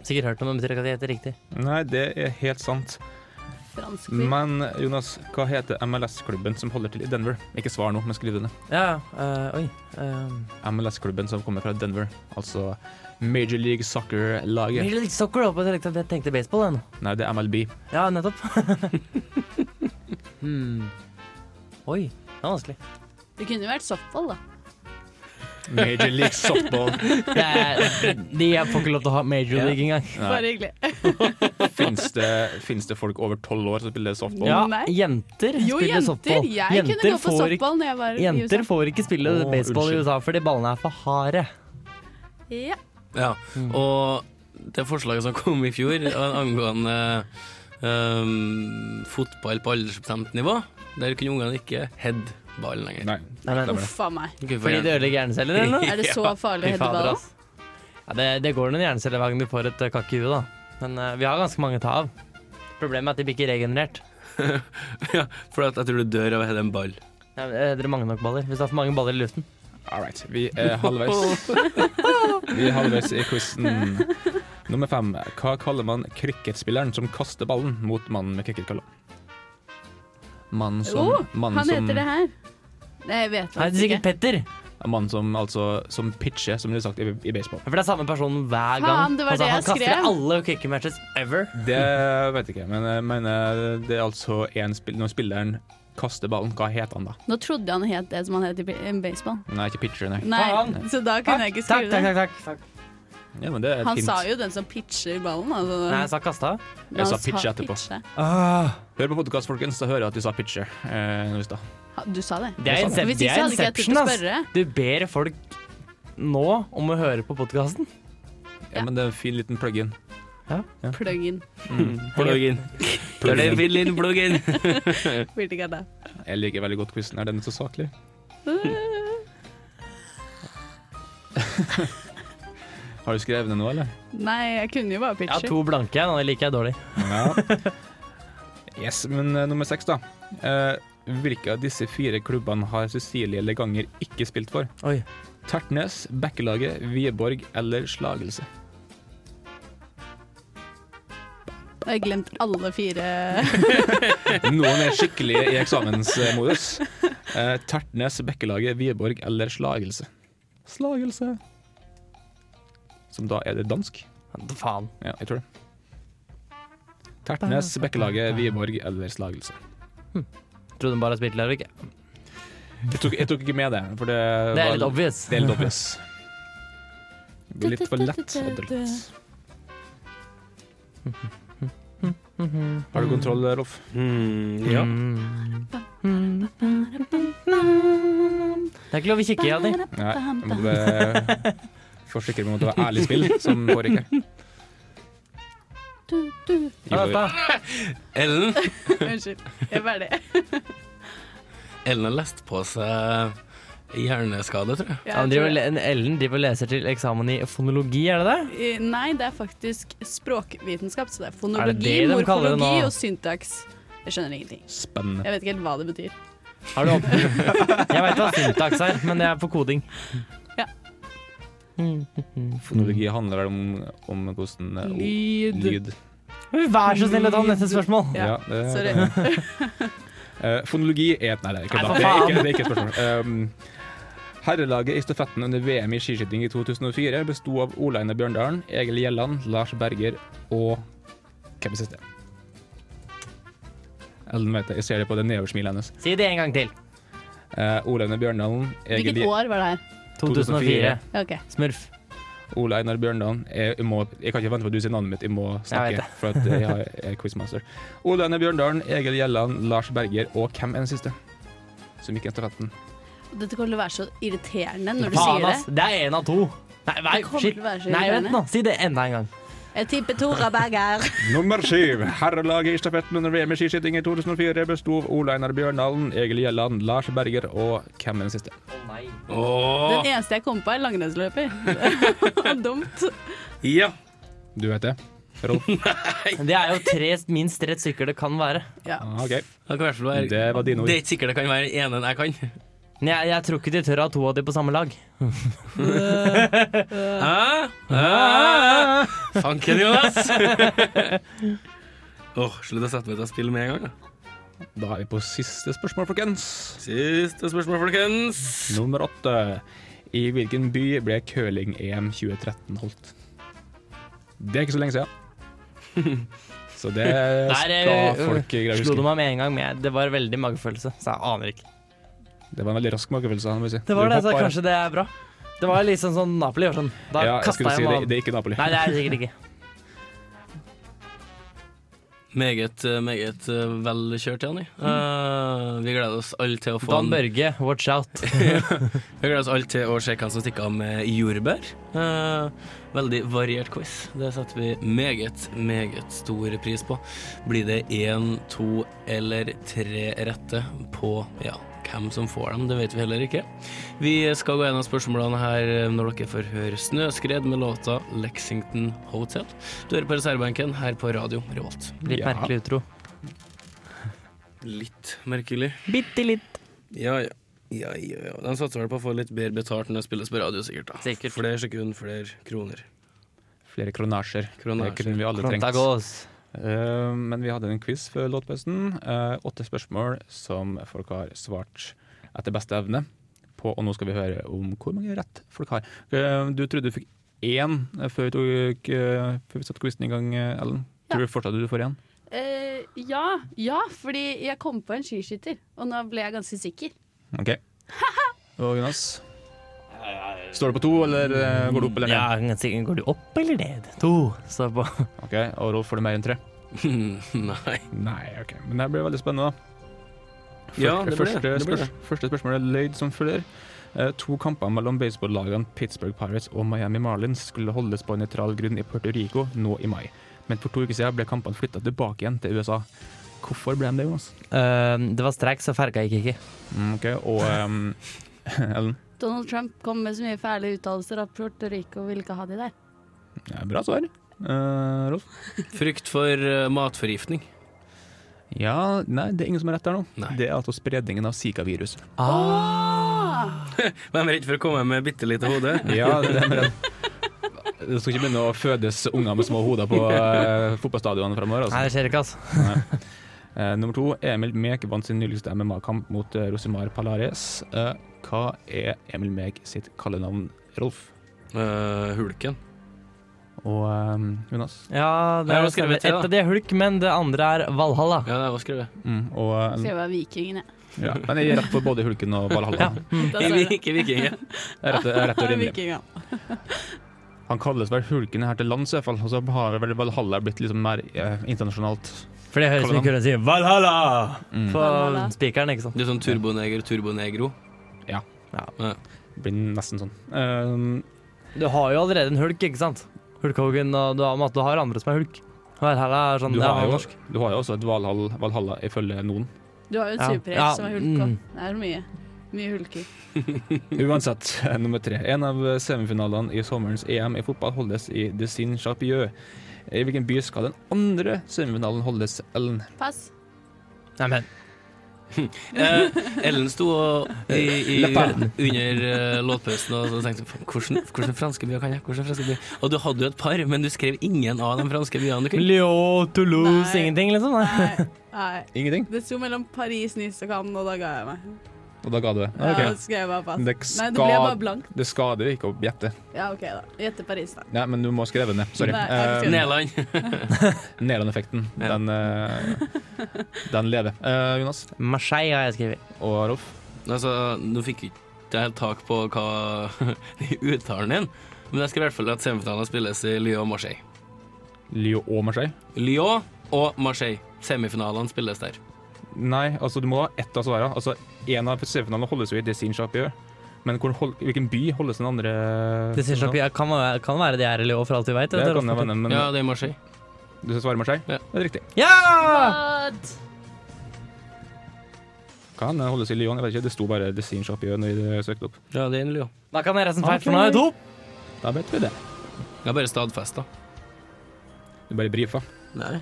[SPEAKER 5] Sikkert hørt om det, men betyr ikke at det heter riktig.
[SPEAKER 3] Nei, det er helt sant.
[SPEAKER 8] Fransk by.
[SPEAKER 3] Men Jonas, hva heter MLS-klubben som holder til i Denver? Ikke svar nå, men skriv det ned.
[SPEAKER 5] Ja, ja. eh, oi. eh,
[SPEAKER 3] MLS-klubben som kommer fra Denver, altså Major League Soccer-laget.
[SPEAKER 5] Major League Soccer, da, på direkte at jeg tenkte baseball, jeg nå.
[SPEAKER 3] Nei, det er MLB.
[SPEAKER 5] Ja, nettopp. [LAUGHS] hmm. Oi, det er vanskelig.
[SPEAKER 8] Det kunne jo vært softball, da.
[SPEAKER 3] Major League Softball.
[SPEAKER 5] [LAUGHS] Det er, de jeg får ikke lov til å ha major league engang.
[SPEAKER 8] Bare hyggelig.
[SPEAKER 3] Fins det, finnes det folk over tolv år som spiller softball?
[SPEAKER 5] Ja,
[SPEAKER 8] Nei.
[SPEAKER 5] jenter
[SPEAKER 8] Jo,
[SPEAKER 5] spiller
[SPEAKER 8] jenter!
[SPEAKER 5] softball.
[SPEAKER 8] Jeg kunne gå på
[SPEAKER 5] får ikke-
[SPEAKER 8] softball når jeg var
[SPEAKER 5] Jenter
[SPEAKER 8] i USA.
[SPEAKER 5] får ikke spille
[SPEAKER 3] Å,
[SPEAKER 5] baseball
[SPEAKER 3] unnskyld.
[SPEAKER 5] i USA fordi ballene er for harde.
[SPEAKER 8] Ja.
[SPEAKER 4] Ja,
[SPEAKER 5] Mm.
[SPEAKER 4] og det forslaget som kom i fjor eh, angående ehm, fotball på aldersbestemt nivå, der kunne ungene ikke heade ballen lenger.
[SPEAKER 3] Nei.
[SPEAKER 5] Nei, men,
[SPEAKER 8] Uff a meg.
[SPEAKER 4] Ikke for
[SPEAKER 5] fordi det
[SPEAKER 4] gjerne.
[SPEAKER 5] ødelegger hjerneceller, eller noe?
[SPEAKER 8] Er det så
[SPEAKER 5] [LAUGHS]
[SPEAKER 8] farlig å
[SPEAKER 5] Fy
[SPEAKER 8] heade
[SPEAKER 5] fader,
[SPEAKER 8] ballen?
[SPEAKER 5] ass. Ja, det, det går noen hjerneceller hver gang du får et eh, kakk i huet, da. Men eh, vi har ganske mange å ta av. Problemet er at de blir ikke regenerert.
[SPEAKER 4] ja, for at jeg tror du dør av å heade en ball.
[SPEAKER 5] Ja, eh, Dere mangler nok baller. Hvis du har for mange baller i luften.
[SPEAKER 3] All right. Vi er
[SPEAKER 8] [LAUGHS]
[SPEAKER 3] halvveis. Vi er halvveis i quizen. Nummer fem. Hva kaller man cricketspilleren som kaster ballen mot mannen med cricketkalle? Mannen som,
[SPEAKER 8] Jo,
[SPEAKER 3] mannen
[SPEAKER 8] Oh, Han
[SPEAKER 3] som,
[SPEAKER 8] heter det her. Nei, jeg
[SPEAKER 5] Nei, det
[SPEAKER 8] vet
[SPEAKER 5] er
[SPEAKER 8] faktisk
[SPEAKER 5] sikkert
[SPEAKER 8] ikke.
[SPEAKER 5] Petter.
[SPEAKER 3] Mannen som, altså, som pitcher, som det blir sagt i, i baseball.
[SPEAKER 5] For det er samme person hver gang.
[SPEAKER 8] Faen, det var det
[SPEAKER 5] han
[SPEAKER 8] jeg
[SPEAKER 5] kaster i
[SPEAKER 8] skrev.
[SPEAKER 5] alle kickermatches ever.
[SPEAKER 3] Det vet jeg ikke, men jeg mener det er altså en spill, når spilleren kaster ballen, hva heter han da?
[SPEAKER 8] Nå trodde jeg han het det som han het i b- baseball.
[SPEAKER 3] Nei, ikke pitcher, nei.
[SPEAKER 8] Nei,
[SPEAKER 5] Faen.
[SPEAKER 8] så da kunne jeg ikke
[SPEAKER 5] Takk,
[SPEAKER 8] skrive
[SPEAKER 5] takk,
[SPEAKER 8] det.
[SPEAKER 5] takk, takk, takk.
[SPEAKER 3] Ja, men det er et
[SPEAKER 8] Han
[SPEAKER 3] hint.
[SPEAKER 8] sa jo den som pitcher ballen, altså.
[SPEAKER 5] Nei, jeg sa kasta.
[SPEAKER 8] Men
[SPEAKER 3] jeg sa
[SPEAKER 8] han
[SPEAKER 3] pitch etterpå.
[SPEAKER 8] pitche.
[SPEAKER 3] Hør på podkast, folkens, så hører jeg at du sa pitcher. Eh, nå i stad.
[SPEAKER 8] Ha, Du sa det.
[SPEAKER 5] Det er,
[SPEAKER 8] Hvis
[SPEAKER 5] incep-
[SPEAKER 8] ikke
[SPEAKER 5] det
[SPEAKER 8] så
[SPEAKER 5] er
[SPEAKER 8] hadde ikke jeg turt
[SPEAKER 5] inception,
[SPEAKER 8] å
[SPEAKER 5] ass.
[SPEAKER 8] spørre.
[SPEAKER 5] Du ber folk nå om å høre på podkasten.
[SPEAKER 3] ja, men det er en fin liten plug-in.
[SPEAKER 8] Plug-in.
[SPEAKER 3] Mm. [LAUGHS]
[SPEAKER 4] Plugg-in. Det er det vi vil inn, plugg-in.
[SPEAKER 8] Vil ikke ha
[SPEAKER 5] [LAUGHS]
[SPEAKER 8] det.
[SPEAKER 3] Jeg liker veldig godt quizen. Er den så saklig? Har du skrevet den nå, eller?
[SPEAKER 8] Nei, jeg kunne jo bare
[SPEAKER 5] Jeg har
[SPEAKER 8] pitche.
[SPEAKER 5] to blanke, og det liker jeg dårlig.
[SPEAKER 3] Ja. [LAUGHS] Yes, men eh, nummer seks, da. Eh, hvilke av disse fire klubbene har Cecilie Leganger ikke spilt for?
[SPEAKER 5] Oi.
[SPEAKER 3] Tertnes, Bekkelaget, Vieborg eller Slagelse?
[SPEAKER 8] Og jeg glemte alle fire.
[SPEAKER 3] Noen er skikkelig i eksamensmodus. Eh, Tertnes, Bekkelaget, Vieborg eller Slagelse? Slagelse. Som da er det dansk?
[SPEAKER 5] Faen.
[SPEAKER 3] Ja, jeg tror det. Tertnes, Bekkelaget, Vieborg eller Slagelse.
[SPEAKER 5] Trodde hun bare spilte Larvik.
[SPEAKER 3] Jeg tok, jeg tok ikke med det, for det,
[SPEAKER 5] Det er
[SPEAKER 3] var-
[SPEAKER 5] litt obvious.
[SPEAKER 3] Det er litt obvious. Det blir litt for lett og drøyt. Har du kontroll, Rolf?
[SPEAKER 4] ja.
[SPEAKER 5] Det er ikke lov å kikke i
[SPEAKER 8] [LAUGHS]
[SPEAKER 5] av de.
[SPEAKER 3] Nei. Jeg måtte være forsikre med å være ærlig spill, som forrige.
[SPEAKER 5] Ja, dette.
[SPEAKER 4] Ellen,
[SPEAKER 8] Unnskyld. Jeg er ferdig.
[SPEAKER 4] Ellen har lest på seg hjerneskade, tror jeg.
[SPEAKER 8] Jeg
[SPEAKER 5] Ja, han driver,
[SPEAKER 8] tror-
[SPEAKER 5] og le- en Ellen driver og leser til eksamen i fonologi, er det det?
[SPEAKER 8] I- Nei, det er faktisk språkvitenskap. Så det er
[SPEAKER 5] Er det
[SPEAKER 8] fonologi,
[SPEAKER 5] det de kaller det nå?
[SPEAKER 8] morfologi og syntaks. Jeg skjønner ingenting.
[SPEAKER 3] Spennende.
[SPEAKER 8] Jeg vet ikke helt hva det betyr.
[SPEAKER 5] Har du opp- [LAUGHS] Jeg veit hva syntax er, men det er for koding.
[SPEAKER 8] Ja.
[SPEAKER 3] Fonologi handler vel om, om hvordan eh, ord- Mm.
[SPEAKER 8] Lyd.
[SPEAKER 3] lyd
[SPEAKER 5] Vær så snill å ta neste spørsmål.
[SPEAKER 8] Ja,
[SPEAKER 3] det-
[SPEAKER 5] [LAUGHS]
[SPEAKER 8] sorry.
[SPEAKER 3] Eh, fonologi er et Nei, det er ikke,
[SPEAKER 5] Nei,
[SPEAKER 3] det.
[SPEAKER 5] for
[SPEAKER 3] Det er
[SPEAKER 5] faen.
[SPEAKER 3] ikke, det er ikke et spørsmål. Um, Herrelaget i stafetten under VM i skiskyting i 2004 besto av Olaine Bjørndalen, Egil Gjelland, Lars Berger og Hvem er siste? Ellen vet det. Jeg ser det på det nedoversmilet hennes.
[SPEAKER 5] Si det en gang til.
[SPEAKER 3] Eh, Olaune Bjørndalen, Egil
[SPEAKER 8] Hvilket
[SPEAKER 3] Lie-
[SPEAKER 8] år var det her?
[SPEAKER 5] 2004.
[SPEAKER 3] 2004.
[SPEAKER 8] Ja, Ok.
[SPEAKER 5] Smurf.
[SPEAKER 3] Ole Einar Bjørndalen. Jeg, jeg, må, jeg kan ikke vente på at du sier navnet mitt, jeg må snakke.
[SPEAKER 5] Jeg vet det.
[SPEAKER 3] for at eh, jeg har- jeg er quizmaster. Ole Einar Bjørndalen, Egil Gjelland, Lars Berger og hvem er den siste? Som gikk i stafetten.
[SPEAKER 8] Dette kommer til å være så irriterende når du
[SPEAKER 5] Faen,
[SPEAKER 8] sier
[SPEAKER 5] ass.
[SPEAKER 8] det.
[SPEAKER 5] Det er én av to. Nei, nei,
[SPEAKER 8] Det kommer
[SPEAKER 5] shit.
[SPEAKER 8] til å være så
[SPEAKER 5] Nei, vent
[SPEAKER 8] irriterende.
[SPEAKER 5] nå. Si det enda en gang.
[SPEAKER 8] Jeg tipper
[SPEAKER 5] [LAUGHS]
[SPEAKER 8] Tora Berger.
[SPEAKER 3] Nummer syv. Herrelaget i stafetten under VM i skiskyting i 2004 besto av Ole Einar Bjørndalen, Egil Gjelland, Lars Berger og hvem er den siste?
[SPEAKER 4] Åh,
[SPEAKER 8] Den eneste jeg kom på, er langrennsløper. [LAUGHS] Dumt.
[SPEAKER 4] ja.
[SPEAKER 3] Du vet det? Rolf?
[SPEAKER 5] Det er jo tre, minst tre stykker det kan være.
[SPEAKER 8] Ja.
[SPEAKER 3] Ah, OK.
[SPEAKER 4] Det, kan i hvert fall være,
[SPEAKER 3] Det var dine ord.
[SPEAKER 4] det er ikke sikkert det kan være den ene enn jeg kan.
[SPEAKER 5] Men jeg, jeg tror ikke de tør å ha to av de på samme lag.
[SPEAKER 4] Hæ? Hæ? Fanken, Jonas! [LAUGHS] Åh, Slutt å sette meg til å spille med en gang. da.
[SPEAKER 3] Da er vi på siste spørsmål, folkens.
[SPEAKER 4] Siste spørsmål, folkens.
[SPEAKER 3] Nummer åtte. I hvilken by ble curling-EM 2013 holdt? Det er ikke så lenge siden.
[SPEAKER 5] [LAUGHS]
[SPEAKER 3] Så det skal
[SPEAKER 5] eh,
[SPEAKER 3] folk greie å
[SPEAKER 5] Slo det
[SPEAKER 3] huske.
[SPEAKER 5] meg med en gang, men jeg, det var veldig magefølelse, så jeg aner ikke.
[SPEAKER 3] Det var en veldig rask magefølelse. må jeg si.
[SPEAKER 5] Det var
[SPEAKER 3] Du
[SPEAKER 5] det, så
[SPEAKER 3] hoppa, ja.
[SPEAKER 5] kanskje det er bra. Det var liksom sånn Napoli gjør sånn. Da
[SPEAKER 3] ja, jeg
[SPEAKER 5] kasta
[SPEAKER 3] skulle
[SPEAKER 5] jeg
[SPEAKER 3] si
[SPEAKER 5] meg
[SPEAKER 3] det,
[SPEAKER 5] av.
[SPEAKER 3] det er ikke Napoli.
[SPEAKER 5] Nei, det er det sikkert ikke.
[SPEAKER 4] Meget, eh, meget eh, vel kjørt, Janni. Eh, vi gleder oss alle til å få
[SPEAKER 5] Dan
[SPEAKER 4] en,
[SPEAKER 5] Børge, watch out.
[SPEAKER 4] Vi gleder oss alle til å se hvem som stikker av med jordbær. Eh, veldig variert quiz. Det setter vi meget, meget stor pris på. Blir det én, to eller tre rette på ja, hvem som får dem, det vet vi heller ikke. Vi skal gå gjennom spørsmålene her eh, når dere får høre Snøskred med låta Lexington Hotel. Du hører på reservebenken her på radio Revolt.
[SPEAKER 5] Litt
[SPEAKER 3] Ja.
[SPEAKER 5] merkelig utro.
[SPEAKER 4] Litt merkelig.
[SPEAKER 5] Bitte litt.
[SPEAKER 4] Ja, ja. Ja, ja, ja. De satser vel på å få litt bedre betalt når det spilles på radio, sikkert. da
[SPEAKER 5] Sikkert.
[SPEAKER 4] Flere sekunder, flere kroner.
[SPEAKER 3] Flere kronasjer. Det
[SPEAKER 4] Kronasjer.
[SPEAKER 3] kunne vi alle trengt.
[SPEAKER 5] Prontagos.
[SPEAKER 3] Eh, men vi hadde en quiz før låtpausen. Eh, åtte spørsmål som folk har svart etter beste evne på, og nå skal vi høre om hvor mange rett folk har. Eh, du trodde du fikk én eh, før vi, tok, eh, før vi satte quizen i gang, eh, Ellen. Tror du fortsatt du får én?
[SPEAKER 8] Eh, ja, ja, fordi jeg kom på en skiskytter, og nå ble jeg ganske sikker.
[SPEAKER 3] OK. Og Jonas? Står du på to, eller eh, går du opp eller
[SPEAKER 5] Ja,
[SPEAKER 3] ned?
[SPEAKER 5] sikkert går du opp eller ned? To. Så på
[SPEAKER 3] Ok, Og Rolf, får du mer enn tre?
[SPEAKER 4] Nei.
[SPEAKER 3] Nei, ok. Men det blir veldig spennende, da.
[SPEAKER 4] Ja, det blir
[SPEAKER 3] første,
[SPEAKER 4] det. Det blir
[SPEAKER 3] spørs- første spørsmål er løyd som følger. Eh, To kamper mellom baseballagene Pittsburgh Pirates og Miami Marlins skulle holdes på nøytral grunn i Puerto Rico nå i mai. Men for to uker siden ble kampene flytta tilbake igjen til USA. Hvorfor ble de det, Jonas?
[SPEAKER 5] Øhm, Det var streik, så ferga gikk ikke.
[SPEAKER 3] Mm, ok, Og ehm, [LAUGHS] Ellen?
[SPEAKER 8] Donald Trump kom med så mye fæle uttalelser at Puerto Rico ville ikke ha de der.
[SPEAKER 3] Ja, bra svar. Eh, Rolf?
[SPEAKER 4] Frykt for eh, matforgiftning.
[SPEAKER 3] Ja, nei, det er ingen som har rett der nå.
[SPEAKER 4] Nei.
[SPEAKER 3] Det er altså spredningen av Zika-viruset.
[SPEAKER 5] Ah.
[SPEAKER 4] Hvem er redd for å komme med bitte lite hode?
[SPEAKER 3] [LAUGHS] Ja, det er redd. Det skal ikke begynne å fødes unger med små hoder på uh, fotballstadionene framover.
[SPEAKER 5] Nei,
[SPEAKER 3] Altså.
[SPEAKER 5] det skjer ikke, altså.
[SPEAKER 3] Eh, nummer to, Emil Mek vant sin nyligste MMA-kamp mot eh, Rosimar Palares. Eh, hva er Emil Mek sitt kallenavn, Rolf?
[SPEAKER 4] Eh, hulken.
[SPEAKER 3] Og eh, Jonas?
[SPEAKER 5] Ja, det
[SPEAKER 4] Jeg
[SPEAKER 5] er
[SPEAKER 4] har skrevet tre,
[SPEAKER 5] et
[SPEAKER 4] da.
[SPEAKER 5] av de er hulk, men det andre er Valhalla.
[SPEAKER 4] Ja, det var skrevet.
[SPEAKER 3] Mm, og,
[SPEAKER 8] Så
[SPEAKER 3] eh,
[SPEAKER 8] jeg var vikingen, jeg.
[SPEAKER 3] ja. Men jeg gir rett på både Hulken og Valhalla.
[SPEAKER 8] Da sa
[SPEAKER 4] Ikke,
[SPEAKER 8] jeg det.
[SPEAKER 4] ikke viking. ja.
[SPEAKER 3] Det er Rett, det er rett og rimelig.
[SPEAKER 8] Vikingen.
[SPEAKER 3] Han kalles vel Hulken her til lands, i hvert fall. Og så har vel Valhalla blitt liksom mer eh, internasjonalt.
[SPEAKER 5] For det høres
[SPEAKER 3] Kallenavn.
[SPEAKER 5] mye kulere ut å si Valhalla på
[SPEAKER 8] Valhalla.
[SPEAKER 5] spikeren, ikke sant.
[SPEAKER 4] Det er sånn turboneger, turbonegro.
[SPEAKER 3] Blir nesten sånn. Eh,
[SPEAKER 5] Du har jo allerede en hulk, ikke sant? Hulk Hogan, og du har, du har andre som er hulk. Valhalla er sånn
[SPEAKER 3] du,
[SPEAKER 5] det er
[SPEAKER 3] har jo,
[SPEAKER 5] norsk.
[SPEAKER 3] du har jo også et Valhall, Valhalla ifølge noen.
[SPEAKER 8] Du har jo et
[SPEAKER 5] Ja.
[SPEAKER 8] superhelt
[SPEAKER 5] Ja,
[SPEAKER 8] som er hulk òg.
[SPEAKER 5] mm.
[SPEAKER 8] Det er mye. Mye hulker.
[SPEAKER 3] Uansett, eh, nummer tre. En av semifinalene i sommerens EM i fotball holdes i Dessin-Chapieux. I hvilken by skal den andre semifinalen holdes, Ellen?
[SPEAKER 8] Pass.
[SPEAKER 5] Nei, men
[SPEAKER 4] Eh, Ellen sto og- i, i,
[SPEAKER 3] Le Pen.
[SPEAKER 4] under eh, låtpausen og så tenkte jeg, "Faen, hvordan, hvordan franske byer kan jeg? Hvordan franske byer? Og du hadde jo et par, men du skrev ingen av de franske byene. Du kunne
[SPEAKER 5] Lyon, Toulouse,
[SPEAKER 9] Nei.
[SPEAKER 5] ingenting, liksom? Nei.
[SPEAKER 9] Nei, nei.
[SPEAKER 3] Ingenting.
[SPEAKER 9] Det sto mellom Paris, Nice og Cannes, og da ga jeg meg.
[SPEAKER 3] og da ga du det.
[SPEAKER 8] Ja,
[SPEAKER 3] Ok.
[SPEAKER 8] det skrev jeg bare fast.
[SPEAKER 3] Det
[SPEAKER 8] Nei, det ble
[SPEAKER 3] skal-
[SPEAKER 8] bare blankt.
[SPEAKER 3] Det skader ikke å gjette.
[SPEAKER 8] Ja, OK, da. Gjette Paris, da.
[SPEAKER 3] Nei, men du må skrive det ned. Sorry.
[SPEAKER 8] Nei, jeg
[SPEAKER 3] Eh,
[SPEAKER 8] skal-
[SPEAKER 4] Nederland.
[SPEAKER 3] Nederland-effekten,
[SPEAKER 4] Ja.
[SPEAKER 3] den, eh, den lever. Eh, Jonas
[SPEAKER 5] Marseille har jeg skrevet.
[SPEAKER 3] og Rolf.
[SPEAKER 4] Altså, nå fikk jeg ikke helt tak på hva [LAUGHS] uttalen din, men jeg skal i hvert fall at semifinalen spilles i Lyon og Marseille.
[SPEAKER 3] Lyon og Marseille.
[SPEAKER 4] Lyon og Marseille. Semifinalene spilles der.
[SPEAKER 3] Nei, altså du må ha ett av svarene. Altså, en av semifinalene holdes jo i Dessin-Chapieu. Men hvor, hold, hvilken by holdes den andre
[SPEAKER 5] Det sier seg, ja, kan, være- kan være det er eller jo, for alt vi veit.
[SPEAKER 3] Det kan jeg vende, men
[SPEAKER 4] Ja, det er Marseille.
[SPEAKER 3] du skal svare Marseille?
[SPEAKER 4] Ja.
[SPEAKER 3] Det er riktig.
[SPEAKER 5] Ja!
[SPEAKER 3] Kan den holdes i Lyon? Jeg vet ikke, det sto bare Dessin-Chapieu når jeg søkte opp.
[SPEAKER 4] Ja, det er i Lyon.
[SPEAKER 5] Da kan jeg resten feil, for nå er jeg to.
[SPEAKER 3] Da vet vi det.
[SPEAKER 4] Jeg har bare stadfesta.
[SPEAKER 3] Du bare brifa.
[SPEAKER 4] Nei.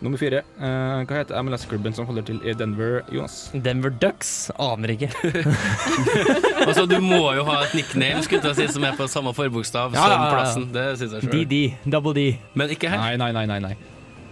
[SPEAKER 3] Nummer fire. Eh, hva heter MLS-klubben som holder til i Denver, Jonas?
[SPEAKER 5] Denver Ducks aner ikke.
[SPEAKER 4] Altså, du må jo ha et nickname skulle jeg til å si, som er på samme forbokstav
[SPEAKER 5] Ja, ja, ja,
[SPEAKER 4] som
[SPEAKER 5] ja.
[SPEAKER 4] plassen. Det synes jeg selv.
[SPEAKER 5] DD. Double D.
[SPEAKER 4] Men ikke her.
[SPEAKER 3] Nei, nei, nei, nei. nei.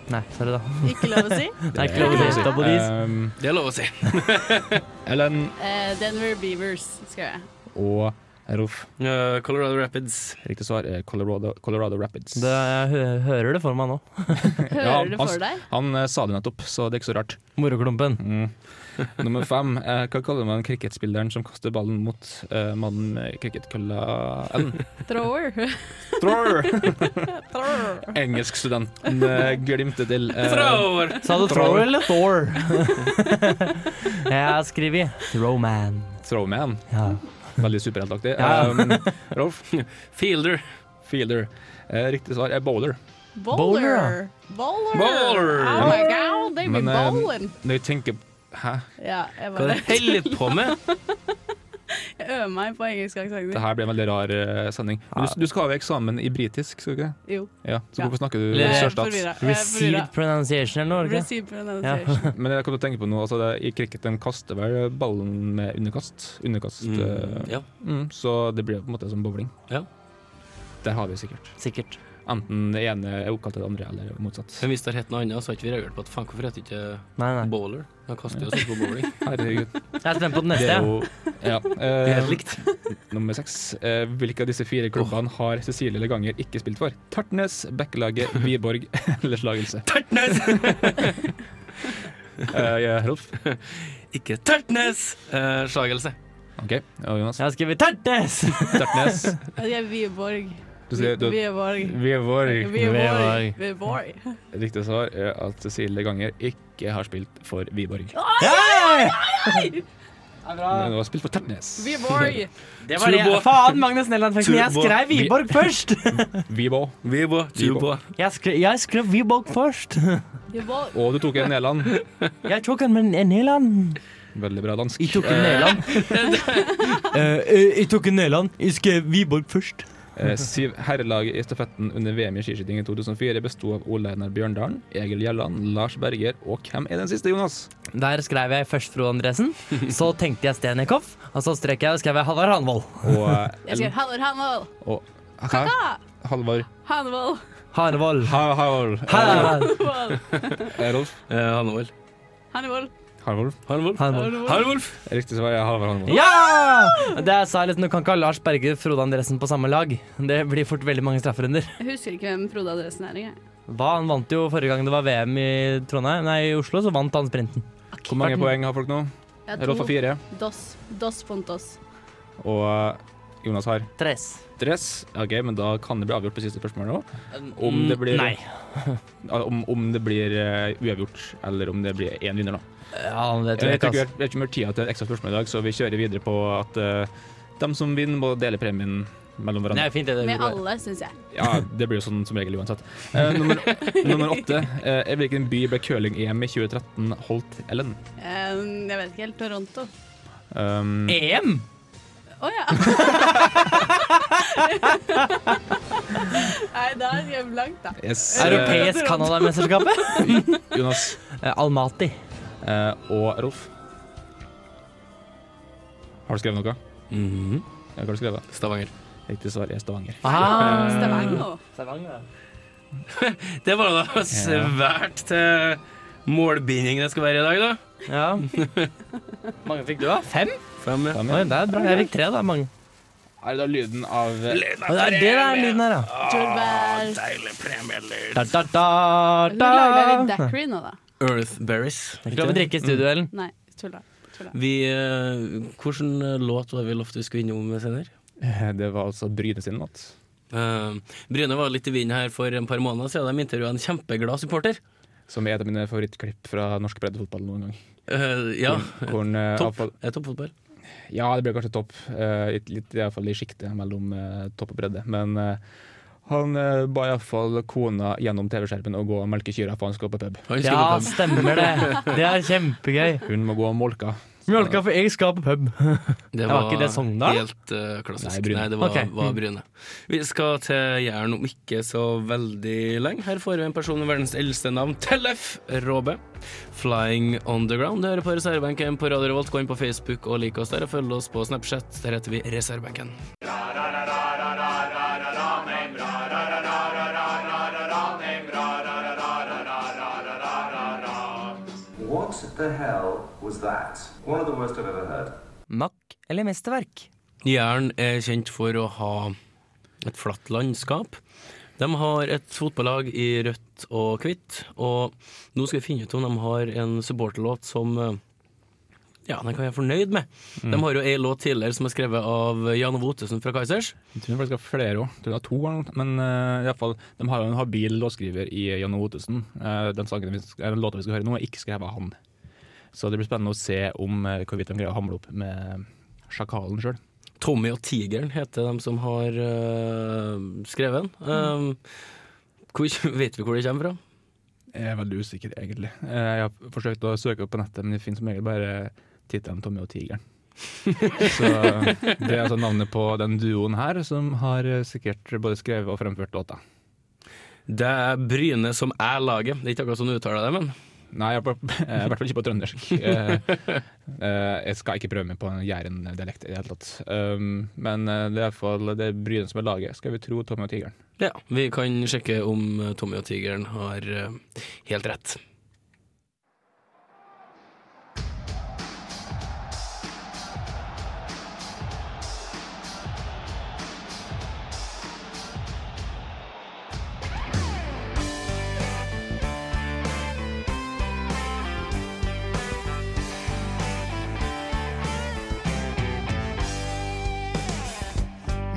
[SPEAKER 5] Nei, sorry, da.
[SPEAKER 8] Ikke lov [LAUGHS] å si.
[SPEAKER 5] Det er ikke lov å si. Double D's.
[SPEAKER 3] Um,
[SPEAKER 4] Det er lov å si.
[SPEAKER 3] Ellen
[SPEAKER 8] Eh, Denver Beavers, skrev jeg.
[SPEAKER 3] og Rolf.
[SPEAKER 4] Eh, Colorado Rapids.
[SPEAKER 3] Riktig svar er Colorado, Colorado Rapids.
[SPEAKER 5] Det, jeg hø hører det for meg nå.
[SPEAKER 3] Ja,
[SPEAKER 8] Hører du
[SPEAKER 3] han-
[SPEAKER 8] for deg?
[SPEAKER 3] Han eh, sa det nettopp, så det er ikke så rart.
[SPEAKER 5] Moroklumpen.
[SPEAKER 3] Mm. Nummer fem. Eh, hva kaller man cricketspilleren som kaster ballen mot eh, mannen med cricketkølla Ellen?
[SPEAKER 8] Thrower.
[SPEAKER 3] Thrower! Engelskstudenten eh, glimter til. Eh,
[SPEAKER 4] Thrower!
[SPEAKER 5] Sa du Thor eller Thor? [LAUGHS] jeg har skrevet Throwman.
[SPEAKER 3] Throwman.
[SPEAKER 5] Ja.
[SPEAKER 3] Veldig superheltaktig.
[SPEAKER 5] Ja.
[SPEAKER 3] Um, Rolf.
[SPEAKER 4] Fielder.
[SPEAKER 3] Fielder. Eh, riktig svar er bowler.
[SPEAKER 8] Bowler. Bowler.
[SPEAKER 4] Bowler.
[SPEAKER 8] Oh my god, they be
[SPEAKER 3] Men, eh,
[SPEAKER 8] bowling.
[SPEAKER 3] Når jeg tenker Hæ?
[SPEAKER 8] Ja,
[SPEAKER 4] Hva er
[SPEAKER 8] jeg bare
[SPEAKER 4] det du holder på [LAUGHS] med?
[SPEAKER 8] jeg [LAUGHS] øver meg på engelsk aksent.
[SPEAKER 3] Det her ble en veldig rar eh, sending. Men du, du skal ha jo eksamen i britisk, skal du ikke det?
[SPEAKER 8] Jo.
[SPEAKER 3] Ja, så
[SPEAKER 8] Ja.
[SPEAKER 3] hvorfor snakker du
[SPEAKER 5] Eller-
[SPEAKER 8] Jeg er
[SPEAKER 3] sørstats?
[SPEAKER 8] forvirret. Jeg er
[SPEAKER 5] Received
[SPEAKER 8] forvirret.
[SPEAKER 5] pronunciation eller noe? var det ikke?
[SPEAKER 8] Received pronunciation.
[SPEAKER 3] Men jeg kom til å tenke på noe, altså det, i cricketen kaster vel ballen med underkast. Underkast eh,
[SPEAKER 4] Ja.
[SPEAKER 3] mm, Så det blir på en måte som bowling.
[SPEAKER 4] Ja.
[SPEAKER 3] Der har vi sikkert.
[SPEAKER 5] Sikkert.
[SPEAKER 3] Enten det ene er oppkalt til det andre, eller
[SPEAKER 5] [LAUGHS]
[SPEAKER 3] motsatt.
[SPEAKER 4] Men hvis det har hett noe annet, så har ikke vi reagert på at faen, hvorfor heter det ikke
[SPEAKER 5] Nei, nei.
[SPEAKER 4] bowler? Han kaster jo sånn på bowling.
[SPEAKER 3] Herregud.
[SPEAKER 5] Jeg er spent på den
[SPEAKER 3] Det er
[SPEAKER 5] neste. jeg.
[SPEAKER 3] jo ja.
[SPEAKER 4] Det er
[SPEAKER 3] eh,
[SPEAKER 4] helt [LAUGHS] likt.
[SPEAKER 3] nummer seks. Eh, hvilke av disse fire klubbene har Cecilie Leganger ikke spilt for? Tertnes, Bekkelaget, Wiborg [LAUGHS] eller Slagelse?
[SPEAKER 4] Tertnes!
[SPEAKER 3] Eh, ja, Rolf?
[SPEAKER 4] Ikke Tertnes! Eh, slagelse.
[SPEAKER 3] OK. Og Jonas?
[SPEAKER 5] Jeg har skrevet Tertes!
[SPEAKER 3] Tertnes.
[SPEAKER 8] Jeg er Viborg.
[SPEAKER 3] Du sier du,
[SPEAKER 8] Viborg.
[SPEAKER 3] Wiborg.
[SPEAKER 8] Viborg. Viborg.
[SPEAKER 3] Riktig svar er at Cecilie Leganger ikke har spilt for Wiborg. Men hun har spilt for Tertnes.
[SPEAKER 8] Viborg.
[SPEAKER 3] [LAUGHS]
[SPEAKER 5] Det var det.
[SPEAKER 4] Turbo.
[SPEAKER 5] Faen, Magnus Nelland-effekten. Jeg
[SPEAKER 4] Turbo.
[SPEAKER 5] skrev Wiborg først!
[SPEAKER 3] Vibo.
[SPEAKER 4] Vibo.
[SPEAKER 3] Vibo.
[SPEAKER 5] Jeg skrev, jeg skrev Wiborg først.
[SPEAKER 8] Viborg.
[SPEAKER 3] Og du tok en Nederland.
[SPEAKER 5] Jeg tok en med en Neland.
[SPEAKER 3] Veldig bra dansk.
[SPEAKER 5] Jeg tok en [LAUGHS] Neland. Eh, jeg tok en Neland. Jeg skrev Wiborg først.
[SPEAKER 3] Eh, Siv herrelaget i stafetten under VM i skiskyting i 2004 besto av Ole Einar Bjørndalen, Egil Gjelland, Lars Berger og hvem er den siste, Jonas?
[SPEAKER 5] Der skrev jeg først Fro Andresen. Så tenkte jeg Stenikov. Og så strek jeg og skrev jeg Halvard Hanvold.
[SPEAKER 3] Og, eh,
[SPEAKER 8] Jeg skrev Halvor Hanvold.
[SPEAKER 3] og Hæ? Halvor.
[SPEAKER 8] Hanvold. [LAUGHS]
[SPEAKER 5] Hanvold.
[SPEAKER 3] Ha, Halvor.
[SPEAKER 5] Hanvold.
[SPEAKER 3] Eh, Rolf.
[SPEAKER 4] Eh, Hanvold.
[SPEAKER 8] Hanvold.
[SPEAKER 3] Halvor.
[SPEAKER 4] Hanvold.
[SPEAKER 5] Hanvold.
[SPEAKER 4] Hanvolf.
[SPEAKER 3] Riktig svar er Halvor Halvor.
[SPEAKER 5] Ja! Det er sa jeg litt, Du kan ikke ha Lars Berger og Frode Andresen på samme lag. Det blir fort veldig mange strafferunder.
[SPEAKER 8] Jeg husker ikke hvem Frode Andresen er engang.
[SPEAKER 5] Hva, Han vant jo forrige gang det var VM i Trondheim Nei, i Oslo, så vant han sprinten.
[SPEAKER 3] Hvor mange poeng har folk nå?
[SPEAKER 8] Jeg
[SPEAKER 3] Rolf har
[SPEAKER 8] tror
[SPEAKER 3] fire,
[SPEAKER 8] Dos. Dos Pontos.
[SPEAKER 3] og eh, Jonas har
[SPEAKER 5] Tres.
[SPEAKER 3] dress. OK, men da kan det bli avgjort på siste spørsmål nå. Om det blir
[SPEAKER 5] Nei.
[SPEAKER 3] Ja, [LAUGHS] Om, om det blir eh, uavgjort, eller om det blir én vinner, da.
[SPEAKER 5] Ja, det
[SPEAKER 3] Jeg
[SPEAKER 5] tror jeg
[SPEAKER 3] tror
[SPEAKER 5] ikke,
[SPEAKER 3] ikke vi har-
[SPEAKER 5] altså.
[SPEAKER 3] vi har ikke mer tid til et ekstra spørsmål i dag, så vi kjører videre på at eh, de som vinner, må dele premien mellom
[SPEAKER 5] Det
[SPEAKER 3] hverandre.
[SPEAKER 5] er fint, det. det
[SPEAKER 8] Med
[SPEAKER 5] går bra.
[SPEAKER 8] alle, syns jeg.
[SPEAKER 3] Ja, Det blir jo sånn som regel uansett. Eh, nummer,
[SPEAKER 5] [LAUGHS]
[SPEAKER 3] nummer åtte. eh, I hvilken by ble curling-EM i 2013 holdt, Ellen?
[SPEAKER 8] Ehm, jeg vet ikke helt. Toronto.
[SPEAKER 3] Um,
[SPEAKER 5] EM!
[SPEAKER 8] Å ja. [LAUGHS] Nei, da er jeg blank, da.
[SPEAKER 3] yes, eh,
[SPEAKER 5] Europeisk Canadamesterskapet.
[SPEAKER 3] [LAUGHS] Jonas
[SPEAKER 5] Eh, Almaty.
[SPEAKER 3] eh, og Rolf. Har du skrevet noe?
[SPEAKER 4] Mhm.
[SPEAKER 3] Ja, hva har du skrevet?
[SPEAKER 4] Stavanger.
[SPEAKER 3] Riktig svar er Stavanger.
[SPEAKER 5] Ah,
[SPEAKER 3] Eh,
[SPEAKER 8] Stavanger.
[SPEAKER 5] Stavanger.
[SPEAKER 4] Det var da svært til målbinding det skal være i dag, da.
[SPEAKER 5] Ja. mange fikk du, da? Fem?
[SPEAKER 4] Fem, ja.
[SPEAKER 5] Oi, det er bra. Jeg fikk tre, da. Mange.
[SPEAKER 6] Er det da lyden av
[SPEAKER 5] Å, Det er det det er lyden her,
[SPEAKER 3] ah,
[SPEAKER 5] ja.
[SPEAKER 8] Jordbær.
[SPEAKER 5] Da, da, da,
[SPEAKER 8] Du
[SPEAKER 5] da. Mm.
[SPEAKER 8] lager litt daiquiri nå, da.
[SPEAKER 4] Earthberries.
[SPEAKER 5] Ikke lov å drikke i studio, Ellen.
[SPEAKER 8] Nei, tulla. tulla.
[SPEAKER 4] Vi, eh, hvilken låt var det vi lovte vi skulle innom senere?
[SPEAKER 6] Det var altså Bryne sin låt.
[SPEAKER 4] Eh, Bryne var litt i vinden her for en par måneder siden. De intervjua en kjempeglad supporter.
[SPEAKER 6] Som er et av mine favorittklipp fra norsk breddefotball noen
[SPEAKER 5] [LAUGHS]
[SPEAKER 6] gang.
[SPEAKER 4] Eh, ja.
[SPEAKER 6] Hvor han, eh,
[SPEAKER 4] Topp.
[SPEAKER 6] avfall-
[SPEAKER 4] Er toppfotball?
[SPEAKER 6] Ja, det ble kanskje topp. eh, i- litt, I hvert fall i sjiktet mellom eh, topp og bredde. Men eh, han eh, ba iallfall kona gjennom TV-skjermen å gå og melke kyrne, for han skal på pub.
[SPEAKER 4] Han skulle
[SPEAKER 5] Ja,
[SPEAKER 4] på pub.
[SPEAKER 5] stemmer det. Det er kjempegøy.
[SPEAKER 6] Hun må gå og molke.
[SPEAKER 5] Mjølka for jeg skal på pub.
[SPEAKER 4] Det
[SPEAKER 5] var ikke det Sogndal?
[SPEAKER 4] Helt eh, klassisk.
[SPEAKER 6] Nei,
[SPEAKER 4] Nei,
[SPEAKER 6] Bryne.
[SPEAKER 4] det var,
[SPEAKER 5] Ok. Mm.
[SPEAKER 4] var Bryne. Vi skal til Jæren om ikke så veldig lenge. Her får vi en person med verdens eldste navn, Tellef Råbe. Flying Underground. Du hører på reservebenken på Radio Revolt. Gå inn på Facebook og lik oss der, og følg oss på Snapchat. Der heter vi Reservebenken.
[SPEAKER 10] What the hell was that? One of the worst I've ever heard.
[SPEAKER 5] Makk eller mesterverk?
[SPEAKER 4] Jæren er kjent for å ha et flatt landskap. De har et fotballag i rødt og hvitt, og nå skal vi finne ut om de har en supporterlåt som eh, ja, den kan jeg være fornøyd med. De har jo ei låt tidligere som er skrevet av Jan Ove Ottesen fra Kaizers.
[SPEAKER 6] Jeg tror faktisk det var flere òg. Hun har to, eller noe. men eh, i alle fall, de har jo en habil låtskriver i Jan O. Ottesen. Eh, den, sangen vi, sk- eh, den låta vi skal høre nå, er ikke skrevet av han. Så det blir spennende å se om eh, hvorvidt de greier å hamle opp med sjakalen sjøl.
[SPEAKER 4] Tommy og Tigeren heter de som har eh, skrevet den. Um, hvor, [LAUGHS] vet vi hvor det kommer fra?
[SPEAKER 6] Jeg er veldig usikker, egentlig. Eh, Jeg har forsøkt å søke opp på nettet, men det finnes som regel bare tittelen 'Tommy og [LAUGHS] tigeren'. så Det er altså navnet på den duoen her, som har eh, sikkert både skrevet og fremført låta.
[SPEAKER 4] Det er Bryne som jeg lager. Det er ikke akkurat sånn du uttaler det, men
[SPEAKER 6] Nei, jeg er på- [LAUGHS] jeg er i hvert fall ikke på [LAUGHS] trøndersk. Eh, eh, Jeg skal ikke prøve meg på en Jæren-dialekt i det hele tatt. Um, Men eh, det er i hvert fall det er Bryne som er laget, skal vi tro Tommy og tigeren.
[SPEAKER 4] Ja, vi kan sjekke om eh, Tommy og Tigeren har eh, helt rett.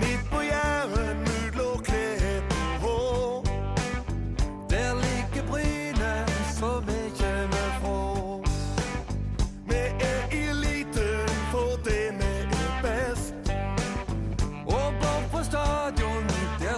[SPEAKER 10] Midt på Jæren, mudler, kledd og hår. Der ligger Bryne, som vi kommer fra. Vi er eliten, for det vi er best. Og bort på stadion, der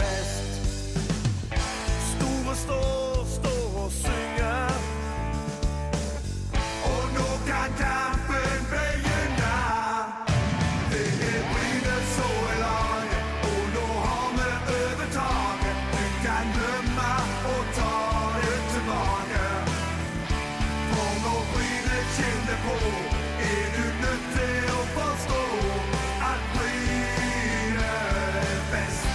[SPEAKER 10] fest. Store står, står og synger. Og nå kan kampen begynne. Det er Bryne som er laget, og nå har vi overtaket. Du kan glemme og ta det tilbake. For når Bryne kjenner på, er du nødt til å forstå at Bryne er best.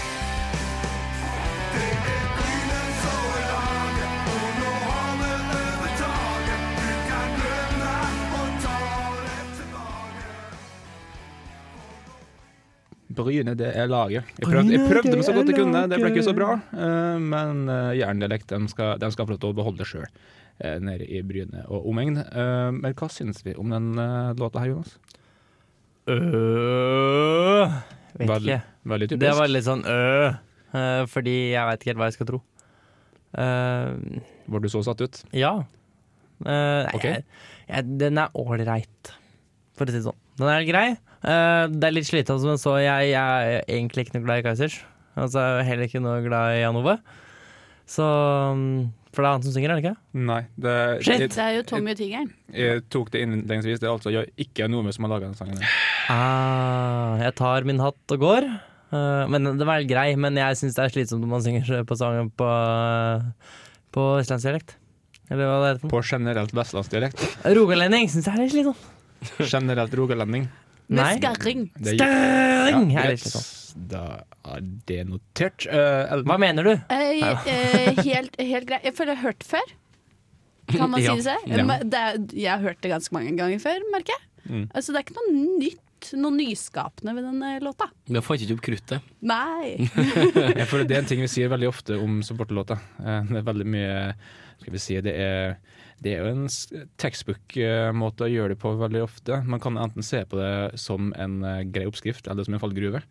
[SPEAKER 10] Det er Bryne som er laget, og nå har vi overtaket. Du kan glemme og ta det tilbake.
[SPEAKER 6] Bryne, det er laget. Jeg prøvde, jeg prøvde meg så godt jeg kunne, det ble ikke så bra. Eh, Men eh, Jæren-dialekt, de skal, de skal få lov til å beholde det sjøl nede i Bryne og omegn. Eh, Men hva syns vi om den eh, låta her, Jonas?
[SPEAKER 5] Øh, vet
[SPEAKER 6] Veldig,
[SPEAKER 5] ikke.
[SPEAKER 6] veldig typisk.
[SPEAKER 5] Det var litt sånn øh, øh, fordi jeg veit ikke helt hva jeg skal tro. Eh,
[SPEAKER 6] Var du så satt ut?
[SPEAKER 5] ja. Eh, nei,
[SPEAKER 6] Ok.
[SPEAKER 5] jeg, jeg, den er ålreit, for å si det sånn. Den er grei. Eh, det er litt slitsomt, men så jeg, jeg er egentlig ikke noe glad i Kaizers. Altså, jeg er heller ikke noe glad i Jan Ove. Så mm, For det er han som synger, er det ikke?
[SPEAKER 6] Nei. Det,
[SPEAKER 5] Shit!
[SPEAKER 8] Det er jo Tommy og Tigeren.
[SPEAKER 6] Jeg, jeg tok det innledningsvis. Det er altså jeg, ikke Nome som har laga den sangen. her.
[SPEAKER 5] Ah, jeg tar min hatt og går. Eh, men den var grei, men jeg syns det er slitsomt når man synger på sangen på, på østlandsdialekt. Eller hva det heter. for noe.
[SPEAKER 6] På generelt vestlandsdialekt.
[SPEAKER 5] Rogalending syns jeg er litt slitsom.
[SPEAKER 6] Generelt rogalending.
[SPEAKER 5] Nei.
[SPEAKER 8] Med skarring.
[SPEAKER 6] Det-
[SPEAKER 5] Støring!
[SPEAKER 6] Ja,
[SPEAKER 5] Jeg er litt slitsom.
[SPEAKER 6] yes. Da er det notert. Eh, Ellen,
[SPEAKER 5] Hva mener du?
[SPEAKER 8] Eh, eh, helt, helt greit. Jeg føler jeg har hørt før. Kan man si
[SPEAKER 4] Ja.
[SPEAKER 8] det seg?
[SPEAKER 6] Ja.
[SPEAKER 8] Men Det er, jeg har hørt det ganske mange ganger før, merker jeg. Altså, det er ikke noe nytt, noe nyskapende ved denne låta.
[SPEAKER 4] Men jeg fant ikke opp kruttet.
[SPEAKER 8] Nei.
[SPEAKER 6] Ja, for det er en ting vi sier veldig ofte om supporterlåter. Eh, Det er veldig mye Skal vi si Det er, det er jo en s- textbook-måte å gjøre det på veldig ofte. Man kan enten se på det som en eh, grei oppskrift, eller som en fallgruve.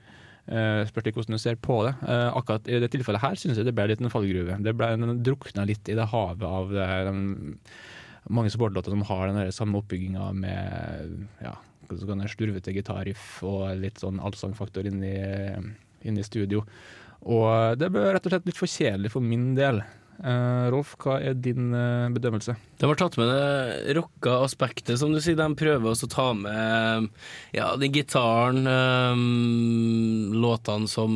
[SPEAKER 6] Eh, Spørs litt hvordan du ser på det. Eh, Akkurat i det tilfellet her syns jeg det ble litt en fallgruve. Det ble en drukna litt i det havet av det, her, den, mange supporterlåter som har den der samme oppbygginga med ja, så kan det slurvete gitarriff og litt sånn allsangfaktor inni, inni studio. Og eh, det ble rett og slett litt for kjedelig for min del. Eh, Rolf, hva er din eh, bedømmelse?
[SPEAKER 4] De har tatt med det rocka aspektet, som du sier. De prøver også å ta med ja, den gitaren, øhm, låtene som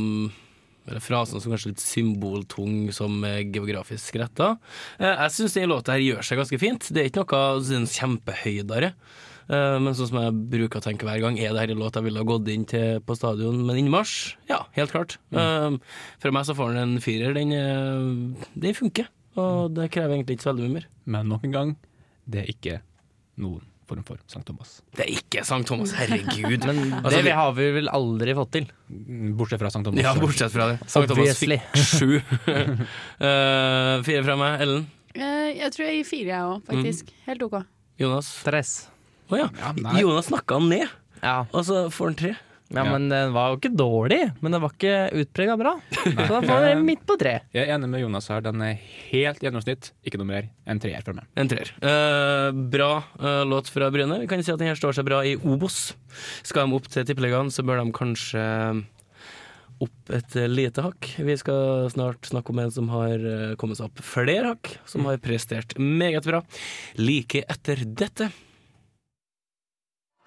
[SPEAKER 4] eller frasene som kanskje er litt symboltung, som er geografisk retta. Eh, Jeg syns den låta her gjør seg ganske fint. Det er ikke noe sånn kjempehøydere. Eh, Men sånn som jeg bruker å tenke hver gang, er det her en låt jeg ville ha gått inn til på stadion med en innmarsj? Ja, helt klart. Eh, Fra meg så får den en firer. Den, eh, den funker. Og det krever egentlig ikke så veldig mye mer.
[SPEAKER 6] Men nok en gang, det er ikke noen form for St. Thomas.
[SPEAKER 4] Det er ikke Sankt Thomas, herregud.
[SPEAKER 5] Men
[SPEAKER 4] Altså, vi-
[SPEAKER 5] det har vi vel aldri fått til.
[SPEAKER 6] Bortsett fra St. Thomas.
[SPEAKER 4] ja, bortsett fra det. Sankt Thomas
[SPEAKER 5] Obviously.
[SPEAKER 4] fikk sju. [LAUGHS] Eh, fire fra meg. Ellen?
[SPEAKER 8] Eh, jeg tror jeg gir fire, jeg òg, faktisk. Helt OK.
[SPEAKER 4] Jonas?
[SPEAKER 5] Stress.
[SPEAKER 4] Å ja.
[SPEAKER 6] nei.
[SPEAKER 4] Jonas snakka han ned,
[SPEAKER 5] Ja.
[SPEAKER 4] og så får han tre.
[SPEAKER 5] ja,
[SPEAKER 6] Ja.
[SPEAKER 5] men eh, den var jo ikke dårlig. Men den var ikke utprega bra. Så da får dere midt på tre.
[SPEAKER 6] Jeg er enig med Jonas her. Den er helt gjennomsnitt, ikke noe mer enn treer for meg.
[SPEAKER 4] En treer. Eh, bra eh, låt fra Bryne. Vi kan si at den her står seg bra i Obos. Skal de opp til Tippeligaen, så bør de kanskje opp et lite hakk. Vi skal snart snakke om en som har eh, kommet seg opp flere hakk,
[SPEAKER 5] Mm.
[SPEAKER 4] som har prestert meget bra. Like etter dette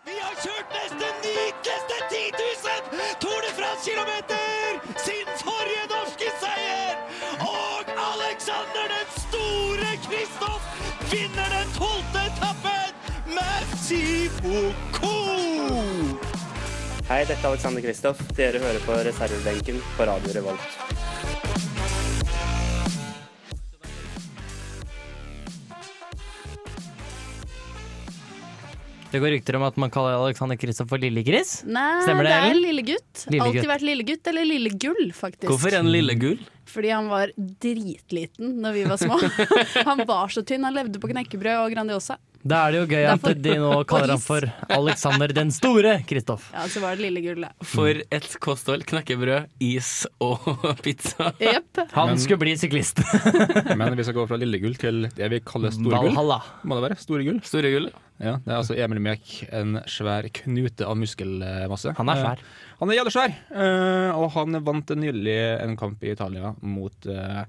[SPEAKER 1] Vi har kjørt nesten likeste 10 000 Tour de France-kilometer siden forrige norske seier! Og Alexander den store Kristoff vinner den tolvte etappen med Sifoko!
[SPEAKER 11] Hei, dette er Alexander Kristoff. Dere hører på reservebenken på Radio Revolt.
[SPEAKER 5] Det går rykter om at man kaller Alexander Kristoff for Lillegris.
[SPEAKER 8] Nei,
[SPEAKER 5] Stemmer det,
[SPEAKER 8] det er
[SPEAKER 5] Ellen?
[SPEAKER 8] lillegutt.
[SPEAKER 5] Lillegutt.
[SPEAKER 8] Alltid vært lillegutt, eller lillegull, faktisk.
[SPEAKER 4] Hvorfor en lille gull?
[SPEAKER 8] Fordi han var dritliten når vi var små. han var så tynn. Han levde på knekkebrød og Grandiosa.
[SPEAKER 5] Da er det jo gøy at
[SPEAKER 8] Derfor-
[SPEAKER 5] de nå kaller
[SPEAKER 8] Og
[SPEAKER 5] ham
[SPEAKER 8] is.
[SPEAKER 5] for Alexander den store Kristoff.
[SPEAKER 8] Ja, så var det lillegull, da.
[SPEAKER 4] For et kosthold. Knekkebrød, is og [LAUGHS] pizza.
[SPEAKER 8] Jepp.
[SPEAKER 5] Han skulle bli syklist.
[SPEAKER 6] Men vi skal gå fra lillegull til det vi kaller storegull.
[SPEAKER 5] Valhalla.
[SPEAKER 6] Må det være? Storegull.
[SPEAKER 4] Store gull.
[SPEAKER 6] Ja, det er altså Emil Mek, en svær knute av muskelmasse.
[SPEAKER 5] Han er
[SPEAKER 6] Eh,
[SPEAKER 5] svær.
[SPEAKER 6] Han er jævlig svær, eh, og han vant nylig en kamp i Italia mot eh,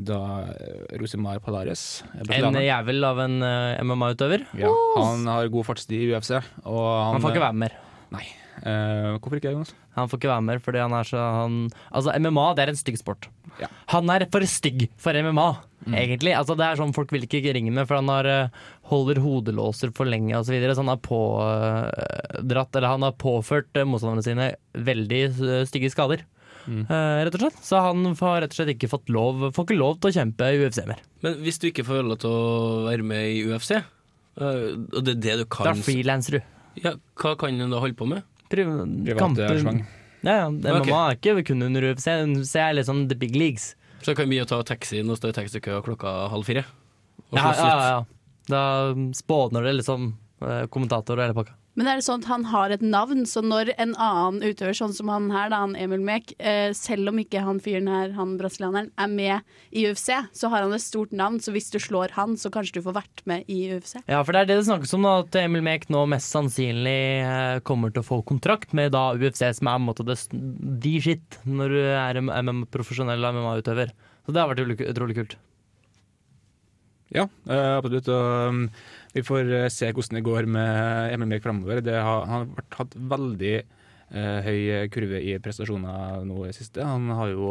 [SPEAKER 6] da eh, Rosimar Palares. eh,
[SPEAKER 5] En
[SPEAKER 6] brasilianer.
[SPEAKER 5] jævel av en eh, MMA-utøver.
[SPEAKER 6] Ja, han har god fartstid i UFC. Og han,
[SPEAKER 5] Han får ikke være med mer.
[SPEAKER 6] Eh, hvorfor ikke, Jonas?
[SPEAKER 5] Han får ikke være med fordi han er så han, Altså, MMA det er en stygg sport.
[SPEAKER 6] Ja. Mm.
[SPEAKER 5] Han er for stygg for MMA, egentlig. Altså, det er sånn Folk vil ikke ringe med, for han har, eh, holder hodelåser for lenge osv. Så, videre, så han har pådratt Eller han har påført eh, motstanderne sine veldig eh, stygge skader.
[SPEAKER 6] Mm.
[SPEAKER 5] Eh, rett og slett. Så han har rett og slett ikke fått lov Får ikke lov til å kjempe i UFC mer.
[SPEAKER 4] Men hvis du ikke får lov til å være med i UFC, eh, og det er det du
[SPEAKER 5] Da
[SPEAKER 4] kan
[SPEAKER 5] frilanser du.
[SPEAKER 4] ja, Hva kan du da holde på med?
[SPEAKER 5] Pri-
[SPEAKER 6] Private
[SPEAKER 5] kamper-
[SPEAKER 6] arrangement.
[SPEAKER 5] Ja, ja. MMA
[SPEAKER 4] Ok.
[SPEAKER 5] er ikke kun under UFC. UFC er liksom the big leagues.
[SPEAKER 4] Så det kan mye å ta taxien og stå i taxikø klokka halv fire. Og
[SPEAKER 5] Ja,
[SPEAKER 4] slåss
[SPEAKER 5] ja,
[SPEAKER 4] litt.
[SPEAKER 5] ja. Da um, spådner det liksom eh, kommentator og hele pakka.
[SPEAKER 8] Men er det sånn at han har et navn, så når en annen utøver, sånn som han her, da, han Emil Mek, eh, selv om ikke han fyren her, han brasilianeren, er med i UFC, så har han et stort navn, så hvis du slår han, så kanskje du får vært med i UFC.
[SPEAKER 5] Ja, for det er det det snakkes om, da, at Emil Mek nå mest sannsynlig eh, kommer til å få kontrakt med da UFC, som er på en måte det, s- de shit når du er en MM profesjonell MMA-utøver. Så det har vært utrolig- utrolig kult.
[SPEAKER 6] Ja, eh, absolutt. Og um, vi får eh, se hvordan det går med Emil Mek framover. Det har, han har vært- hatt veldig eh, høy kurve i prestasjoner nå i det siste. Han har jo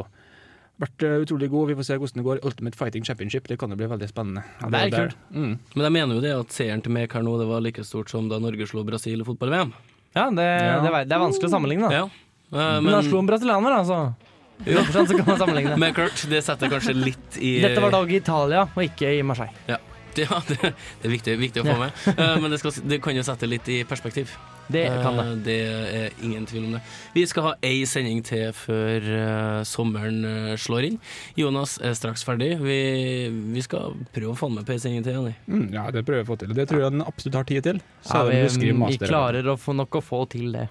[SPEAKER 6] vært eh, utrolig god. Vi får se hvordan det går. Ultimate Fighting Championship, det kan jo bli veldig spennende.
[SPEAKER 5] Ja, det er
[SPEAKER 6] jo der- Mm.
[SPEAKER 4] Men jeg mener jo det at seieren til Mek her nå, det var like stort som da Norge slo Brasil i fotball-VM.
[SPEAKER 5] Ja, det,
[SPEAKER 6] Ja.
[SPEAKER 5] det er- det er vanskelig å sammenligne, da.
[SPEAKER 4] Ja. Eh,
[SPEAKER 5] Men han
[SPEAKER 4] men,
[SPEAKER 5] slo en brasilianer, da, så jo.
[SPEAKER 4] [LAUGHS]
[SPEAKER 5] så kan man sammenligne. [LAUGHS]
[SPEAKER 4] men klart, det setter kanskje litt i
[SPEAKER 5] Dette var dag i Italia, og ikke i Marseille.
[SPEAKER 4] Ja. viktig, [LAUGHS] ja. Det, det er viktig, viktig å få med. Eh, Men det, skal, det kan jo sette litt i perspektiv.
[SPEAKER 5] Det kan det.
[SPEAKER 4] Eh, Det er ingen tvil om det. Vi skal ha ei sending til før eh, sommeren eh, slår inn. Jonas er straks ferdig. Vi, vi skal prøve å få han med på ei sending til, Jonny.
[SPEAKER 6] Mm, ja, det prøver vi å få til. Det tror jeg den absolutt har tid til.
[SPEAKER 5] Ja,
[SPEAKER 6] Så vi,
[SPEAKER 5] vi,
[SPEAKER 6] skriver
[SPEAKER 5] vi
[SPEAKER 6] master.
[SPEAKER 5] klarer å få nok å få til det.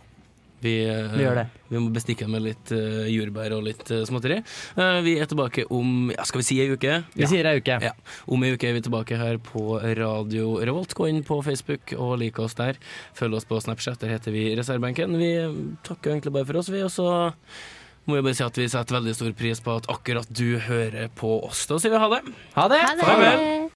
[SPEAKER 4] Vi, eh,
[SPEAKER 5] Vi gjør det.
[SPEAKER 4] vi må bestikke han med litt eh, jordbær og litt eh, småtteri. Eh, Vi er tilbake om ja, skal vi si ei uke?
[SPEAKER 5] Vi sier ei uke.
[SPEAKER 4] Ja. Om ei uke er vi tilbake her på Radio Revolt. Gå inn på Facebook og lik oss der. Følg oss på Snapchat, der heter vi Reservebenken. Vi takker egentlig bare for oss, vi. Og så må jeg bare si at vi setter veldig stor pris på at akkurat du hører på oss. Da sier vi ha det.
[SPEAKER 5] Ha det!
[SPEAKER 4] Ha det.